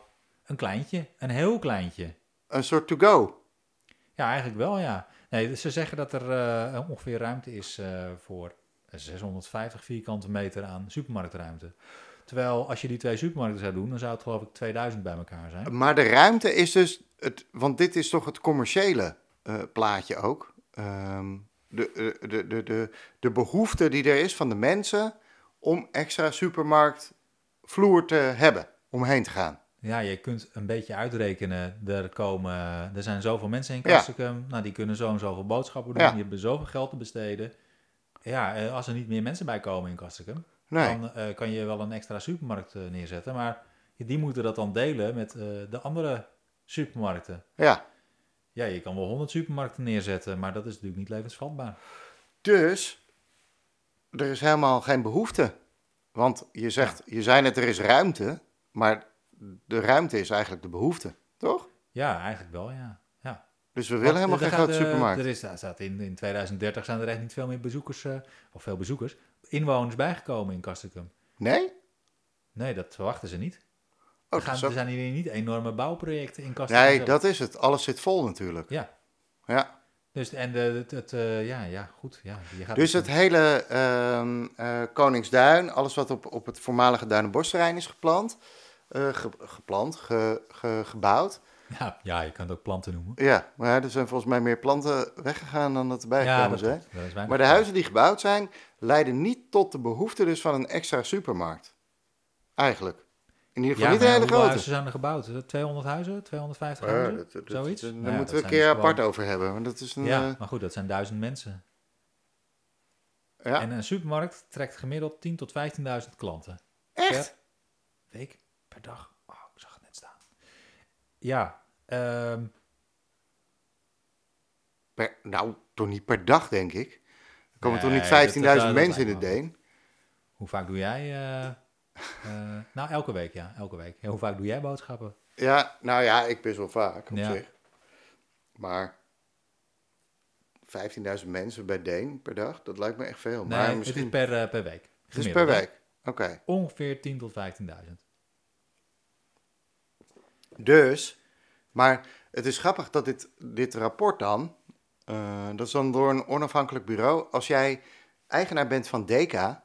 Speaker 1: een kleintje. Een heel kleintje.
Speaker 2: Een soort to-go.
Speaker 1: Ja, eigenlijk wel, ja. Nee, ze zeggen dat er eh, ongeveer ruimte is eh, voor 650 vierkante meter aan supermarktruimte. Terwijl als je die twee supermarkten zou doen, dan zou het geloof ik 2000 bij elkaar zijn.
Speaker 2: Maar de ruimte is dus... Het, want dit is toch het commerciële eh, plaatje ook. Ehm, de, eh, de, de, de, de behoefte die er is van de mensen... om extra supermarktvloer te hebben. Omheen te gaan.
Speaker 1: Ja, je kunt een beetje uitrekenen. Er, komen, er zijn zoveel mensen in
Speaker 2: Ja.
Speaker 1: Kastrikum. Nou, die kunnen zo en zoveel boodschappen doen.
Speaker 2: Ja.
Speaker 1: Die hebben zoveel geld te besteden. Ja, eh, als er niet meer mensen bij komen in Kastrikum,
Speaker 2: Nee.
Speaker 1: dan eh, kan je wel een extra supermarkt eh, neerzetten. Maar die moeten dat dan delen met eh, de andere supermarkten.
Speaker 2: Ja.
Speaker 1: Ja, je kan wel 100 supermarkten neerzetten, maar dat is natuurlijk niet levensvatbaar.
Speaker 2: Dus er is helemaal geen behoefte. Want je zegt, je zei net, er is ruimte. Maar de ruimte is eigenlijk de behoefte, toch?
Speaker 1: Ja, eigenlijk wel, ja. ja.
Speaker 2: Dus we willen helemaal geen grote supermarkt.
Speaker 1: Er is, daar staat in, in 2030 zijn er echt niet veel meer bezoekers, eh, of veel bezoekers, inwoners bijgekomen in Kastrikum.
Speaker 2: Nee?
Speaker 1: Nee, dat verwachten ze niet.
Speaker 2: Oh,
Speaker 1: er, gaan,
Speaker 2: zo-
Speaker 1: er zijn hier niet enorme bouwprojecten in Kastrikum.
Speaker 2: nee,
Speaker 1: zelf.
Speaker 2: dat is het. Alles zit vol natuurlijk.
Speaker 1: Ja,
Speaker 2: Ja.
Speaker 1: dus, en de, het, het, eh, ja, ja, goed. Ja, je gaat
Speaker 2: Dus het hele ehm, eh, Koningsduin, alles wat op, op het voormalige Duinenbosterrein is geplant, eh, ge- geplant, ge- ge- gebouwd.
Speaker 1: Ja, ja, je kan het ook planten noemen.
Speaker 2: Ja, maar er zijn volgens mij meer planten weggegaan dan dat erbij
Speaker 1: Ja,
Speaker 2: gekomen
Speaker 1: dat,
Speaker 2: zijn.
Speaker 1: klopt. dat is weinig.
Speaker 2: Maar de huizen die gebouwd zijn, leiden niet tot de behoefte dus van een extra supermarkt. Eigenlijk. In ieder
Speaker 1: ja,
Speaker 2: geval niet
Speaker 1: maar
Speaker 2: een hele
Speaker 1: hoeveel
Speaker 2: grote.
Speaker 1: huizen zijn er gebouwd? 200 huizen? 250
Speaker 2: Ja,
Speaker 1: huizen?
Speaker 2: dat- dat-
Speaker 1: Zoiets?
Speaker 2: dat- Daar
Speaker 1: Nou ja, dat
Speaker 2: moeten we een
Speaker 1: zijn
Speaker 2: keer
Speaker 1: dus gewoon-
Speaker 2: apart over hebben. Want dat is een,
Speaker 1: Ja,
Speaker 2: eh,
Speaker 1: maar goed, dat zijn duizend mensen.
Speaker 2: eh, ja.
Speaker 1: En een supermarkt trekt gemiddeld 10.000 tot 15.000 klanten.
Speaker 2: Echt?
Speaker 1: Per week, per dag. Oh, ik zag het net staan. Ja, ehm,
Speaker 2: Per, nou, toch niet per dag, denk ik. Er
Speaker 1: Nee, dat-
Speaker 2: komen toch
Speaker 1: dat-
Speaker 2: niet 15.000
Speaker 1: dat
Speaker 2: mensen in
Speaker 1: lijkt
Speaker 2: het
Speaker 1: me wel.
Speaker 2: Deen?
Speaker 1: hoe vaak doe jij eh, Eh, nou, elke week, ja. Elke week. Ja, hoe vaak doe jij boodschappen?
Speaker 2: Ja, nou ja, ik best wel vaak op
Speaker 1: Ja.
Speaker 2: zich. Maar 15.000 mensen bij Deen per dag, dat lijkt me echt veel.
Speaker 1: Nee,
Speaker 2: Oh, maar
Speaker 1: het
Speaker 2: misschien
Speaker 1: is per, eh, per week.
Speaker 2: het is per
Speaker 1: Gemiddeld, hè?
Speaker 2: week. Oké.
Speaker 1: Ongeveer 10.000 tot 15.000.
Speaker 2: Dus, maar het is grappig dat dit, dit rapport dan, eh, dat is dan door een onafhankelijk bureau. Als jij eigenaar bent van Deka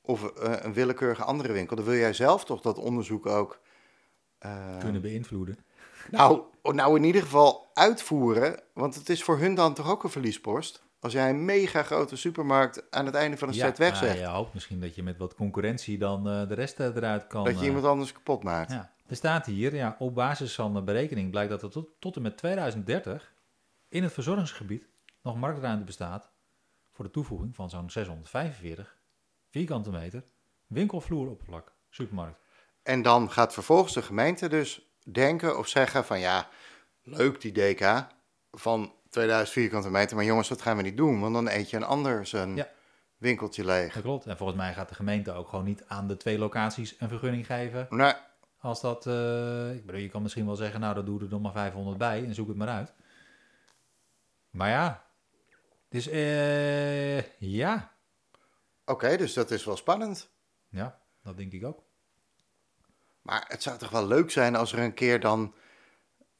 Speaker 2: of eh, een willekeurige andere winkel, dan wil jij zelf toch dat onderzoek ook. eh,
Speaker 1: Kunnen beïnvloeden.
Speaker 2: nou, nou, in ieder geval uitvoeren, want het is voor hun dan toch ook een verliespost. Als jij een mega grote supermarkt aan het einde van een set
Speaker 1: ah,
Speaker 2: wegzegt,
Speaker 1: je hoopt misschien dat je met wat concurrentie dan eh, de rest eh, eruit kan.
Speaker 2: dat je
Speaker 1: eh,
Speaker 2: iemand anders kapot maakt.
Speaker 1: ja. Er staat hier, ja, op basis van de berekening blijkt dat er tot, tot en met 2030 in het verzorgingsgebied nog marktruimte bestaat voor de toevoeging van zo'n 645 vierkante meter winkelvloeroppervlak, supermarkt.
Speaker 2: En dan gaat vervolgens de gemeente dus denken of zeggen van ja, leuk die DK van 2000 vierkante meter, maar jongens, dat gaan we niet doen, want dan eet je een ander zijn
Speaker 1: Ja.
Speaker 2: winkeltje leeg.
Speaker 1: Dat klopt. En volgens mij gaat de gemeente ook gewoon niet aan de twee locaties een vergunning geven.
Speaker 2: Nou,
Speaker 1: Als dat, eh, ik bedoel, je kan misschien wel zeggen, nou, dat doe er dan maar 500 bij en zoek het maar uit. Maar ja, dus eh, ja,
Speaker 2: oké, dus dat is wel spannend.
Speaker 1: ja, dat denk ik ook.
Speaker 2: Maar het zou toch wel leuk zijn als er een keer dan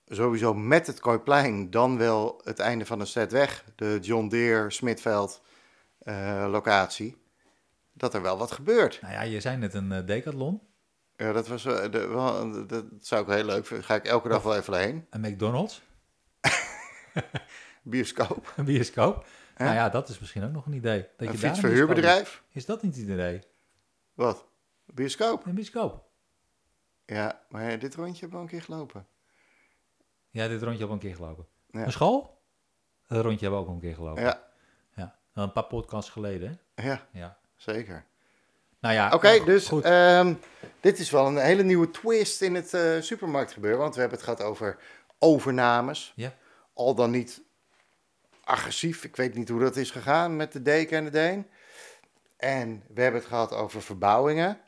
Speaker 2: sowieso met het Kooiplein, dan wel het einde van de set weg, de John Deere Smitveld eh, locatie, dat er wel wat gebeurt.
Speaker 1: Nou ja, je zei net een eh, decathlon,
Speaker 2: Ja, dat, was, eh, de- wel- dat zou ik heel leuk vinden. Ga ik elke dag wel even heen.
Speaker 1: een McDonald's,
Speaker 2: Bioscoop.
Speaker 1: een bioscoop. Nou ja, dat is misschien ook nog een idee. Dat
Speaker 2: een
Speaker 1: daar een bioscoop
Speaker 2: fietsverhuurbedrijf?
Speaker 1: doet. Is dat niet het idee?
Speaker 2: Wat? Een Bioscoop?
Speaker 1: Een bioscoop.
Speaker 2: Ja, maar dit rondje heb ik al een keer gelopen.
Speaker 1: Ja, dit rondje hebben we een keer gelopen.
Speaker 2: Ja.
Speaker 1: Een school? Dat rondje hebben we ook een keer gelopen.
Speaker 2: Ja,
Speaker 1: ja. Een paar podcasts geleden,
Speaker 2: ja,
Speaker 1: hè? Ja.
Speaker 2: zeker.
Speaker 1: Nou ja,
Speaker 2: Oké,
Speaker 1: nou,
Speaker 2: dus
Speaker 1: goed.
Speaker 2: ehm, dit is wel een hele nieuwe twist in het eh, supermarktgebeuren. Want we hebben het gehad over overnames.
Speaker 1: ja.
Speaker 2: Al dan niet agressief. Ik weet niet hoe dat is gegaan met de deken en de deen. En we hebben het gehad over verbouwingen.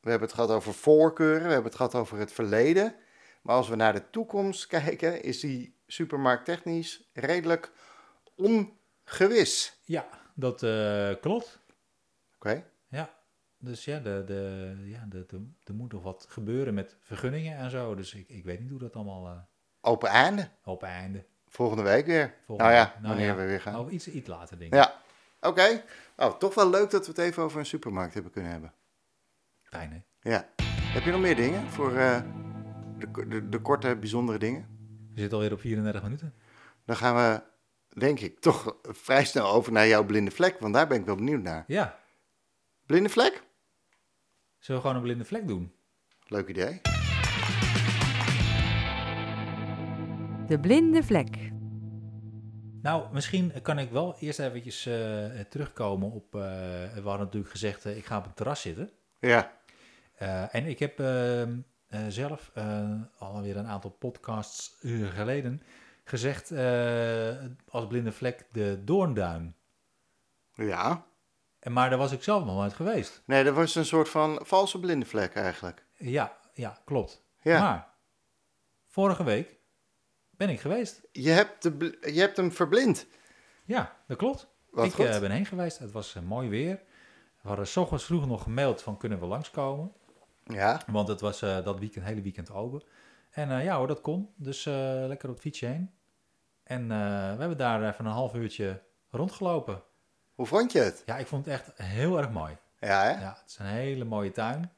Speaker 2: We hebben het gehad over voorkeuren. We hebben het gehad over het verleden. Maar als we naar de toekomst kijken, is die supermarkt technisch redelijk ongewis.
Speaker 1: ja, dat eh, klopt.
Speaker 2: Oké?
Speaker 1: Ja, dus ja, de, de, ja de, de, er moet nog wat gebeuren met vergunningen en zo. Dus ik, ik weet niet hoe dat allemaal eh,
Speaker 2: Open einde.
Speaker 1: op einde.
Speaker 2: Volgende week weer.
Speaker 1: volgende
Speaker 2: nou ja,
Speaker 1: week-
Speaker 2: wanneer
Speaker 1: ja,
Speaker 2: we weer gaan.
Speaker 1: nou, iets, iets later, denk ik.
Speaker 2: Ja, oké. Nou, toch wel leuk dat we het even over een supermarkt hebben kunnen hebben.
Speaker 1: Fijn, hè?
Speaker 2: Ja. Heb je nog meer dingen voor eh, de, de, de korte, bijzondere dingen?
Speaker 1: We zitten alweer op 34 minuten.
Speaker 2: Dan gaan we, denk ik, toch vrij snel over naar jouw blinde vlek, want daar ben ik wel benieuwd naar.
Speaker 1: Ja,
Speaker 2: Blinde vlek?
Speaker 1: zullen we gewoon een blinde vlek doen?
Speaker 2: Leuk idee.
Speaker 3: De blinde vlek.
Speaker 1: Nou, misschien kan ik wel eerst eventjes eh, terugkomen op... eh, we hadden natuurlijk gezegd, eh, ik ga op het terras zitten.
Speaker 2: Ja,
Speaker 1: Eh, en ik heb ehm, eh, zelf eh, alweer een aantal podcasts eh, geleden gezegd... eh, als blinde vlek de doornduin.
Speaker 2: ja.
Speaker 1: En Maar daar was ik zelf nog nooit geweest.
Speaker 2: Nee, dat was een soort van valse blinde vlek eigenlijk.
Speaker 1: Ja, ja klopt.
Speaker 2: Ja.
Speaker 1: Maar vorige week ben ik geweest.
Speaker 2: Je hebt, de, bl- je hebt hem verblind.
Speaker 1: Ja, dat klopt.
Speaker 2: Wat
Speaker 1: ik
Speaker 2: goed.
Speaker 1: eh, ben heen geweest. Het was eh, mooi weer. We hadden 's ochtends vroeg nog gemaild van kunnen we langskomen.
Speaker 2: Ja,
Speaker 1: Want het was eh, dat weekend, hele weekend open. En eh, ja hoor, dat kon. Dus eh, lekker op het fietsje heen. En eh, we hebben daar even een half uurtje rondgelopen.
Speaker 2: hoe vond je het?
Speaker 1: Ja, ik vond het echt heel erg mooi.
Speaker 2: Ja, hè?
Speaker 1: Ja, het is een hele mooie tuin.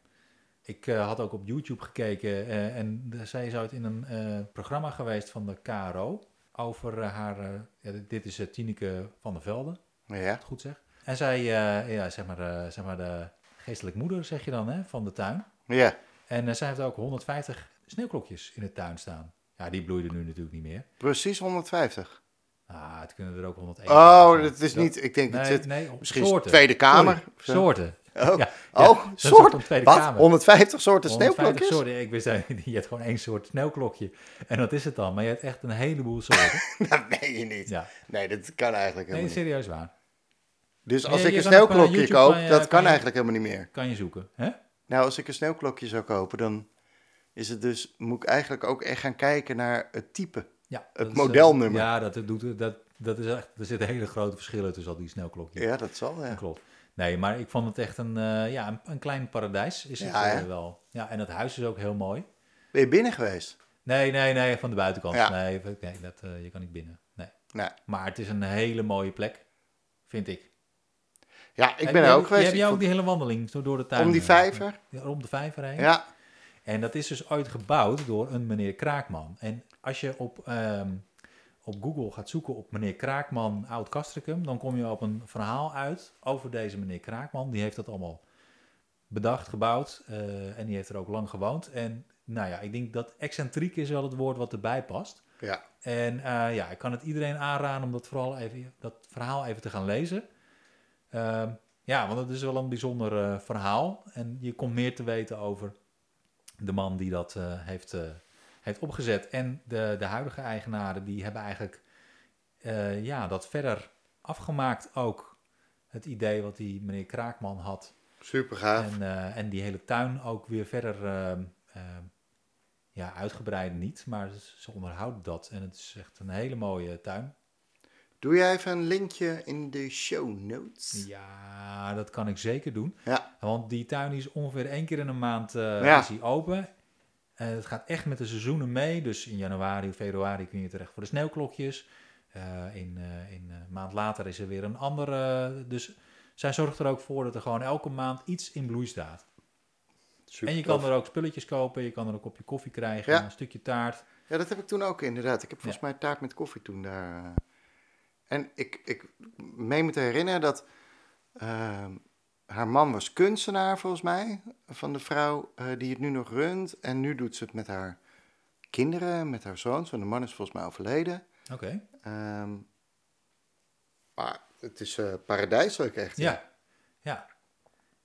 Speaker 1: Ik eh, had ook op YouTube gekeken eh, en de- zij zou het in een eh, programma geweest van de KRO over eh, haar, eh, ja, dit- dit is eh, Tineke van der Velde, als
Speaker 2: Ja.
Speaker 1: ik het goed zeg. En zij, eh, ja, zeg maar, eh, zeg maar de geestelijk moeder, zeg je dan, hè, van de tuin.
Speaker 2: Ja,
Speaker 1: En eh, zij heeft ook 150 sneeuwklokjes in de tuin staan. Ja, die bloeiden nu natuurlijk niet meer.
Speaker 2: precies 150.
Speaker 1: Ah, het kunnen er ook 101.
Speaker 2: Oh,
Speaker 1: zijn.
Speaker 2: dat is niet... Ik denk, het
Speaker 1: Nee,
Speaker 2: zit
Speaker 1: nee, op
Speaker 2: misschien is het
Speaker 1: soorten.
Speaker 2: Tweede Kamer.
Speaker 1: Sorry, soorten.
Speaker 2: Oh,
Speaker 1: Ja, dat
Speaker 2: oh
Speaker 1: is ook
Speaker 2: soort.
Speaker 1: een Tweede
Speaker 2: Wat?
Speaker 1: Kamer.
Speaker 2: 150 soorten
Speaker 1: 150
Speaker 2: sneeuwklokjes?
Speaker 1: soorten. Ik wist eigenlijk niet. Je hebt gewoon één soort sneeuwklokje. En dat is het dan. Maar je hebt echt een heleboel soorten.
Speaker 2: Dat meen je niet.
Speaker 1: Ja.
Speaker 2: Nee, dat kan eigenlijk helemaal
Speaker 1: Nee,
Speaker 2: niet.
Speaker 1: serieus waar.
Speaker 2: Dus als
Speaker 1: Nee,
Speaker 2: ik
Speaker 1: je
Speaker 2: een
Speaker 1: kan ook, eh,
Speaker 2: sneeuwklokje
Speaker 1: YouTube eh,
Speaker 2: koop,
Speaker 1: kan je-
Speaker 2: dat
Speaker 1: kan
Speaker 2: kan
Speaker 1: je-
Speaker 2: eigenlijk helemaal niet meer.
Speaker 1: Kan je zoeken. Hè?
Speaker 2: Nou, als ik een sneeuwklokje zou kopen, dan is het dus, moet ik eigenlijk ook echt gaan kijken naar het type.
Speaker 1: Ja,
Speaker 2: Het
Speaker 1: dat is, eh,
Speaker 2: modelnummer.
Speaker 1: ja, dat doet dat. Dat is echt, er zitten hele grote verschillen tussen al die sneeuwklokjes.
Speaker 2: Ja, dat zal. Ja.
Speaker 1: Klopt. Nee, maar ik vond het echt een, eh, ja, een, een klein paradijs. Is het
Speaker 2: Ja, hè?
Speaker 1: eh, wel. Ja, en het huis is ook heel mooi.
Speaker 2: Ben je binnen geweest?
Speaker 1: Nee, nee, nee, van de buitenkant.
Speaker 2: Ja.
Speaker 1: Nee, even- nee dat, eh, je kan niet binnen. Nee.
Speaker 2: Nee.
Speaker 1: Maar het is een hele mooie plek, vind ik.
Speaker 2: Ja, ik
Speaker 1: Heb
Speaker 2: ben er
Speaker 1: jij-
Speaker 2: ook geweest.
Speaker 1: Heb
Speaker 2: Ik
Speaker 1: jij ook
Speaker 2: vond-
Speaker 1: die hele wandeling zo door de tuin?
Speaker 2: Om die
Speaker 1: eh,
Speaker 2: vijver?
Speaker 1: ja, Om de vijver heen.
Speaker 2: Ja,
Speaker 1: En dat is dus ooit gebouwd door een meneer Kraakman. En als je op, ehm, op Google gaat zoeken op meneer Kraakman Oud Castricum, dan kom je op een verhaal uit over deze meneer Kraakman. Die heeft dat allemaal bedacht, gebouwd eh, en die heeft er ook lang gewoond. En nou ja, ik denk dat excentriek is wel het woord wat erbij past.
Speaker 2: ja.
Speaker 1: En eh, ja, ik kan het iedereen aanraden om dat, vooral even, dat verhaal even te gaan lezen. Ehm, ja, want het is wel een bijzonder eh, verhaal. En je komt meer te weten over de man die dat eh, heeft, eh, heeft opgezet. En de, de huidige eigenaren, die hebben eigenlijk eh, ja, dat verder afgemaakt ook. Het idee wat die meneer Kraakman had.
Speaker 2: super gaaf.
Speaker 1: En, eh, en die hele tuin ook weer verder ehm, ehm, ja, uitgebreid niet, maar ze- ze onderhouden dat. En het is echt een hele mooie tuin.
Speaker 2: Doe jij even een linkje in de show notes?
Speaker 1: Ja, dat kan ik zeker doen.
Speaker 2: Ja.
Speaker 1: Want die tuin is ongeveer één keer in een maand eh,
Speaker 2: Ja.
Speaker 1: is die open. Eh, het gaat echt met de seizoenen mee. Dus in januari, februari kun je terecht voor de sneeuwklokjes. Eh, in eh, in eh, een maand later is er weer een andere. Dus zij zorgt er ook voor dat er gewoon elke maand iets in bloei staat.
Speaker 2: Super
Speaker 1: en je
Speaker 2: tof.
Speaker 1: kan er ook spulletjes kopen, je kan er een kopje koffie krijgen,
Speaker 2: Ja.
Speaker 1: een stukje taart.
Speaker 2: Ja, dat heb ik toen ook inderdaad. Ik heb volgens mij taart met koffie toen daar. eh. En ik, ik meen me te herinneren dat ehm, haar man was kunstenaar volgens mij. Van de vrouw eh, die het nu nog runt. En nu doet ze het met haar kinderen, met haar zoons. Want de man is volgens mij overleden.
Speaker 1: Oké.
Speaker 2: Ehm, maar het is eh paradijselijk echt.
Speaker 1: Ja. Ja.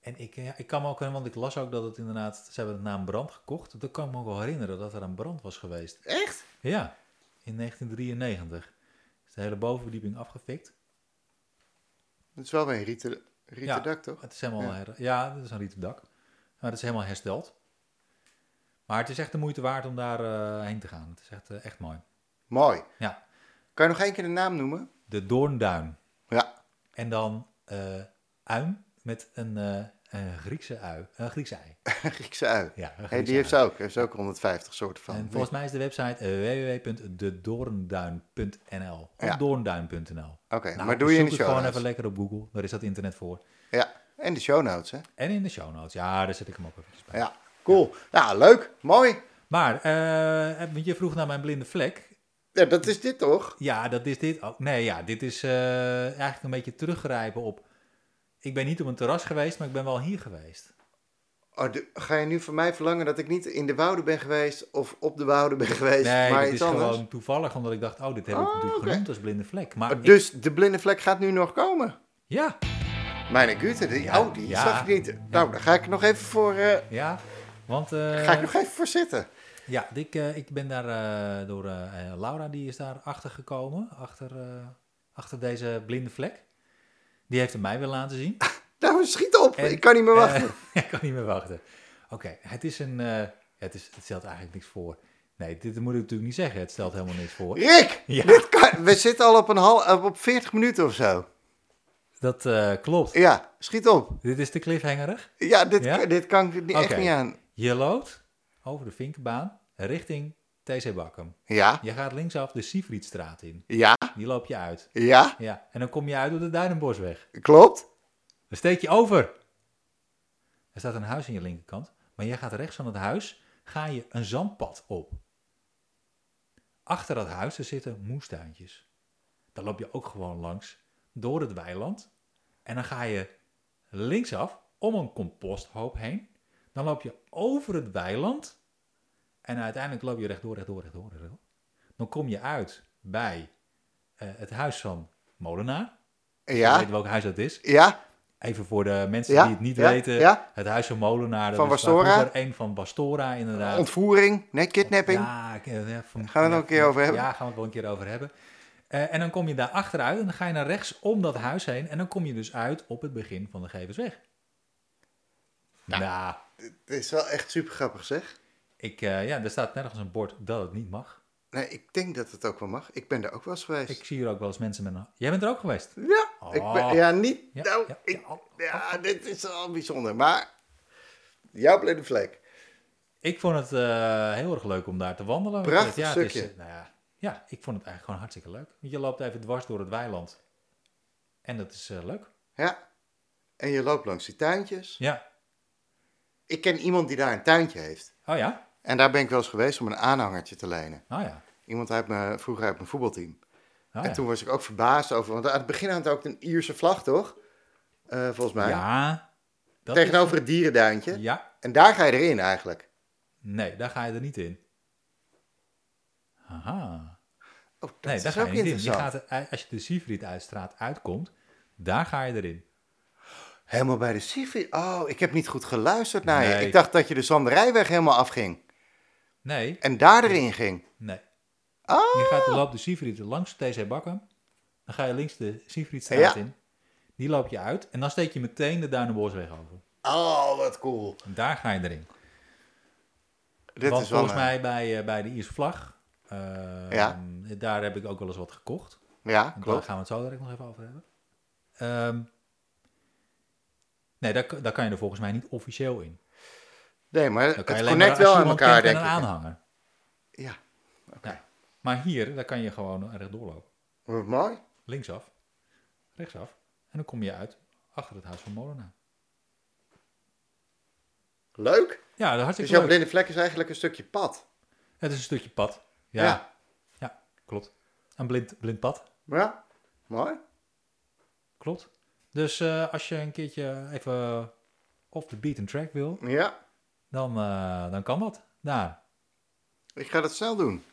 Speaker 1: En ik, eh, ja, ik kan me ook, want ik las ook dat het inderdaad, ze hebben het na een brand gekocht. Dat kan ik me ook wel herinneren dat er een brand was geweest.
Speaker 2: Echt?
Speaker 1: Ja, in 1993. Is de hele bovenverdieping afgefikt.
Speaker 2: Dat is wel weer een rieten, rieten
Speaker 1: Ja.
Speaker 2: dak, toch?
Speaker 1: Het is helemaal,
Speaker 2: Ja.
Speaker 1: ja, ja dat is een rieten dak. Maar het is helemaal hersteld. Maar het is echt de moeite waard om daar eh, heen te gaan. Het is echt, eh, echt mooi.
Speaker 2: Mooi.
Speaker 1: Ja.
Speaker 2: Kan je nog één keer de naam noemen?
Speaker 1: De Doornduin.
Speaker 2: Ja.
Speaker 1: En dan eh uim met een, eh, een Griekse ui. Een Griekse ei.
Speaker 2: Griekse ui.
Speaker 1: Ja, een
Speaker 2: Hey,
Speaker 1: Griekse
Speaker 2: die heeft
Speaker 1: ui.
Speaker 2: ze ook. Heeft ze ook 150 soorten van.
Speaker 1: En volgens mij is de website eh, www.dedoornduin.nl of
Speaker 2: Ja,
Speaker 1: doornduin.nl.
Speaker 2: Oké,
Speaker 1: Nou,
Speaker 2: maar doe je
Speaker 1: zoek
Speaker 2: in
Speaker 1: het
Speaker 2: de show
Speaker 1: gewoon
Speaker 2: notes.
Speaker 1: even lekker op Google. Daar is dat internet voor.
Speaker 2: Ja, en de show notes, hè?
Speaker 1: En in de show notes. Ja, daar zet ik hem ook even bij.
Speaker 2: Ja, cool. Ja, leuk. Mooi.
Speaker 1: Maar eh, want je vroeg naar mijn blinde vlek.
Speaker 2: Ja, dat is dit toch?
Speaker 1: Ja, dat is dit ook. Nee, ja, dit is eh, eigenlijk een beetje teruggrijpen op... Ik ben niet op een terras geweest, maar ik ben wel hier geweest.
Speaker 2: Oh, de- ga je nu van mij verlangen dat ik niet in de wouden ben geweest of op de wouden ben geweest,
Speaker 1: Nee,
Speaker 2: maar
Speaker 1: dit
Speaker 2: iets
Speaker 1: is
Speaker 2: anders?
Speaker 1: gewoon toevallig, omdat ik dacht... Oh, dit heb ik
Speaker 2: Oh,
Speaker 1: natuurlijk
Speaker 2: oké.
Speaker 1: genoemd als blinde vlek. Maar
Speaker 2: Oh,
Speaker 1: ik-
Speaker 2: Dus de blinde vlek gaat nu nog komen?
Speaker 1: ja,
Speaker 2: Mijn gute, die,
Speaker 1: Ja,
Speaker 2: oh, die
Speaker 1: ja.
Speaker 2: zag ik niet. Nou, daar ga ik nog even voor, eh,
Speaker 1: ja. Want... eh,
Speaker 2: ga ik nog even voor zitten.
Speaker 1: Ja, ik, eh, ik ben daar eh, door eh, eh, Laura, die is daar achter gekomen, achter, eh, achter deze blinde vlek. Die heeft hem mij weer laten zien.
Speaker 2: Nou, schiet op.
Speaker 1: En,
Speaker 2: ik kan niet meer wachten.
Speaker 1: Eh, ik kan niet meer wachten. Oké, het is een. eh, het, is, het stelt eigenlijk niks voor. Nee, dit moet ik natuurlijk niet zeggen. Het stelt helemaal niks voor.
Speaker 2: Rick,
Speaker 1: Ja.
Speaker 2: dit kan- we zitten al op, een hal, op 40 minuten of zo.
Speaker 1: Dat eh, klopt.
Speaker 2: Ja, schiet op.
Speaker 1: Dit is te cliffhangerig.
Speaker 2: Ja, dit,
Speaker 1: Ja?
Speaker 2: dit kan ik niet- echt
Speaker 1: Oké.
Speaker 2: niet aan.
Speaker 1: Je loopt over de vinkenbaan richting TC Bakkum.
Speaker 2: Ja,
Speaker 1: Je gaat linksaf de Siefriedstraat in.
Speaker 2: ja,
Speaker 1: Die loop je uit.
Speaker 2: ja,
Speaker 1: Ja, en dan kom je uit op de Duinenbosweg.
Speaker 2: klopt.
Speaker 1: Dan steek je over. Er staat een huis aan je linkerkant, maar jij gaat rechts van het huis, ga je een zandpad op. Achter dat huis er zitten moestuintjes. Daar loop je ook gewoon langs, door het weiland. En dan ga je linksaf om een composthoop heen. Dan loop je over het weiland. En uiteindelijk loop je rechtdoor, rechtdoor, rechtdoor. rechtdoor. Dan kom je uit bij eh, het huis van Molenaar. Dan
Speaker 2: Ja,
Speaker 1: weten we welk huis dat is.
Speaker 2: ja,
Speaker 1: Even voor de mensen
Speaker 2: Ja,
Speaker 1: die het niet
Speaker 2: ja,
Speaker 1: weten.
Speaker 2: ja.
Speaker 1: Het Huis van Molenaar. dat
Speaker 2: Van
Speaker 1: was
Speaker 2: Bastora.
Speaker 1: waar vroeger Een van Bastora, inderdaad.
Speaker 2: ontvoering, nee, kidnapping.
Speaker 1: Ja, ik- eh, ja, van-
Speaker 2: Gaan we het
Speaker 1: ja,
Speaker 2: nog een keer
Speaker 1: van-
Speaker 2: over hebben?
Speaker 1: Ja, gaan we het wel een keer over hebben. Eh, en dan kom je daar achteruit en dan ga je naar rechts om dat huis heen. En dan kom je dus uit op het begin van de Geversweg. Nou,
Speaker 2: Het is wel echt super grappig zeg.
Speaker 1: ik, eh, ja, er staat nergens een bord dat het niet mag.
Speaker 2: Nee, ik denk dat het ook wel mag. Ik ben daar ook wel eens geweest.
Speaker 1: Ik zie hier ook wel eens mensen met een... Jij bent er ook geweest?
Speaker 2: Ja,
Speaker 1: Oh.
Speaker 2: ik ben, ja, niet.
Speaker 1: Ja,
Speaker 2: nou,
Speaker 1: ja,
Speaker 2: ik-
Speaker 1: ja, oh,
Speaker 2: ja, dit is al bijzonder. Maar jouw blinde vlek.
Speaker 1: Ik vond het eh, heel erg leuk om daar te wandelen.
Speaker 2: Prachtig
Speaker 1: ja, het is,
Speaker 2: stukje.
Speaker 1: eh, nou ja, ja, ik vond het eigenlijk gewoon hartstikke leuk. Want Je loopt even dwars door het weiland. En dat is eh, leuk.
Speaker 2: Ja. En je loopt langs die tuintjes.
Speaker 1: Ja.
Speaker 2: Ik ken iemand die daar een tuintje heeft.
Speaker 1: Oh ja?
Speaker 2: En daar ben ik wel eens geweest om een aanhangertje te lenen.
Speaker 1: Nou ja.
Speaker 2: Iemand uit mijn, vroeger uit mijn voetbalteam.
Speaker 1: Nou
Speaker 2: en
Speaker 1: ja.
Speaker 2: toen was ik ook verbaasd over, want aan het begin had het ook een Ierse vlag, toch? Eh, volgens mij.
Speaker 1: Ja. dat
Speaker 2: Tegenover
Speaker 1: is-
Speaker 2: het dierenduintje.
Speaker 1: Ja.
Speaker 2: En daar ga je erin eigenlijk.
Speaker 1: Nee, daar ga je er niet in. Aha.
Speaker 2: Oh, dat
Speaker 1: Nee,
Speaker 2: is
Speaker 1: daar
Speaker 2: ook
Speaker 1: ga je niet in. Je
Speaker 2: interessant.
Speaker 1: gaat er- als je de Siegfried-uitstraat uitkomt, daar ga je erin.
Speaker 2: Helemaal bij de Sifi. Oh, ik heb niet goed geluisterd naar je.
Speaker 1: Nee.
Speaker 2: Ik dacht dat je de Zanderijweg helemaal afging.
Speaker 1: Nee,
Speaker 2: En daar erin ging.
Speaker 1: nee.
Speaker 2: Oh,
Speaker 1: Je gaat loopt de Siegfried langs TC Bakken. Dan ga je links de Siegfriedstraat
Speaker 2: Ja.
Speaker 1: in. Die loop je uit. En dan steek je meteen de Duinenbosweg over.
Speaker 2: oh wat cool.
Speaker 1: En daar ga je erin.
Speaker 2: Dit
Speaker 1: Want
Speaker 2: is wel
Speaker 1: volgens
Speaker 2: een-
Speaker 1: mij bij, eh, bij de Ierse vlag. eh,
Speaker 2: Ja.
Speaker 1: Daar heb ik ook wel eens wat gekocht. En
Speaker 2: Ja,
Speaker 1: daar
Speaker 2: klopt.
Speaker 1: gaan we het zo direct nog even over hebben. Ehm, nee, daar, daar kan je er volgens mij niet officieel in.
Speaker 2: Nee, maar
Speaker 1: Dan
Speaker 2: het
Speaker 1: kan je alleen
Speaker 2: connect
Speaker 1: maar als
Speaker 2: wel aan
Speaker 1: iemand
Speaker 2: elkaar,
Speaker 1: kent en
Speaker 2: denk ik.
Speaker 1: een aanhanger.
Speaker 2: Ja,
Speaker 1: Maar hier, daar kan je gewoon rechtdoor lopen.
Speaker 2: wat Oh, mooi.
Speaker 1: Linksaf, rechtsaf. En dan kom je uit achter het huis van Molenaar.
Speaker 2: Leuk.
Speaker 1: Ja, dat is
Speaker 2: Dus
Speaker 1: hartstikke
Speaker 2: jouw
Speaker 1: leuk.
Speaker 2: blinde vlek is eigenlijk een stukje pad.
Speaker 1: Het is een stukje pad. Ja, ja.
Speaker 2: Ja.
Speaker 1: klopt. Een blind, blind pad,
Speaker 2: Ja, mooi.
Speaker 1: klopt. Dus eh, als je een keertje even off the beaten track wil,
Speaker 2: Ja,
Speaker 1: dan, eh, dan kan dat. Daar.
Speaker 2: ik ga dat snel doen.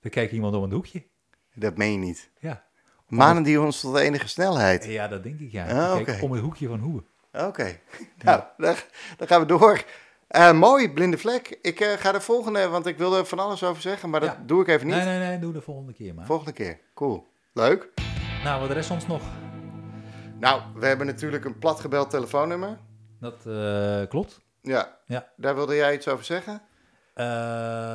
Speaker 1: Dan kijkt iemand om het hoekje.
Speaker 2: Dat meen je niet.
Speaker 1: Ja, Eh,
Speaker 2: Manen die ons tot de enige snelheid.
Speaker 1: ja dat denk ik ja.
Speaker 2: Ah,
Speaker 1: Die kijkt
Speaker 2: oké.
Speaker 1: Om het hoekje van hoe.
Speaker 2: Oké, nou, dan, dan gaan we door. Eh, mooi, blinde vlek. Ik eh, ga de volgende, want ik wilde er van alles over zeggen, maar dat
Speaker 1: Ja.
Speaker 2: doe ik even niet.
Speaker 1: Nee, nee, nee, doe de volgende keer maar.
Speaker 2: Volgende keer. Cool. Leuk.
Speaker 1: Nou, wat rest ons nog?
Speaker 2: Nou, we hebben natuurlijk een platgebeld telefoonnummer.
Speaker 1: Dat eh, klopt.
Speaker 2: Ja.
Speaker 1: Ja.
Speaker 2: Daar wilde jij iets over zeggen?
Speaker 1: Eh,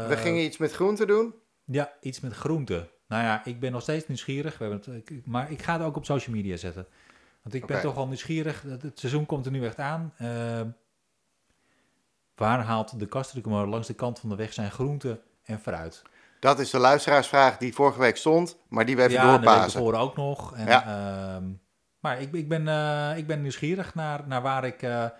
Speaker 2: we gingen iets met groente doen.
Speaker 1: Ja, iets met groenten. Nou ja, ik ben nog steeds nieuwsgierig. We hebben het, ik- maar ik ga het ook op social media zetten. Want ik ben
Speaker 2: Oké.
Speaker 1: toch wel nieuwsgierig. Het, het seizoen komt er nu echt aan. Eh, waar haalt de kastricumor langs de kant van de weg zijn groenten en fruit?
Speaker 2: Dat is de luisteraarsvraag die vorige week stond, maar die we even
Speaker 1: ja, en de week
Speaker 2: doorpasen.
Speaker 1: ervoor ook nog. En,
Speaker 2: Ja.
Speaker 1: ehm, maar ik, ik, ben, eh, ik ben nieuwsgierig naar, naar waar ik eh eh,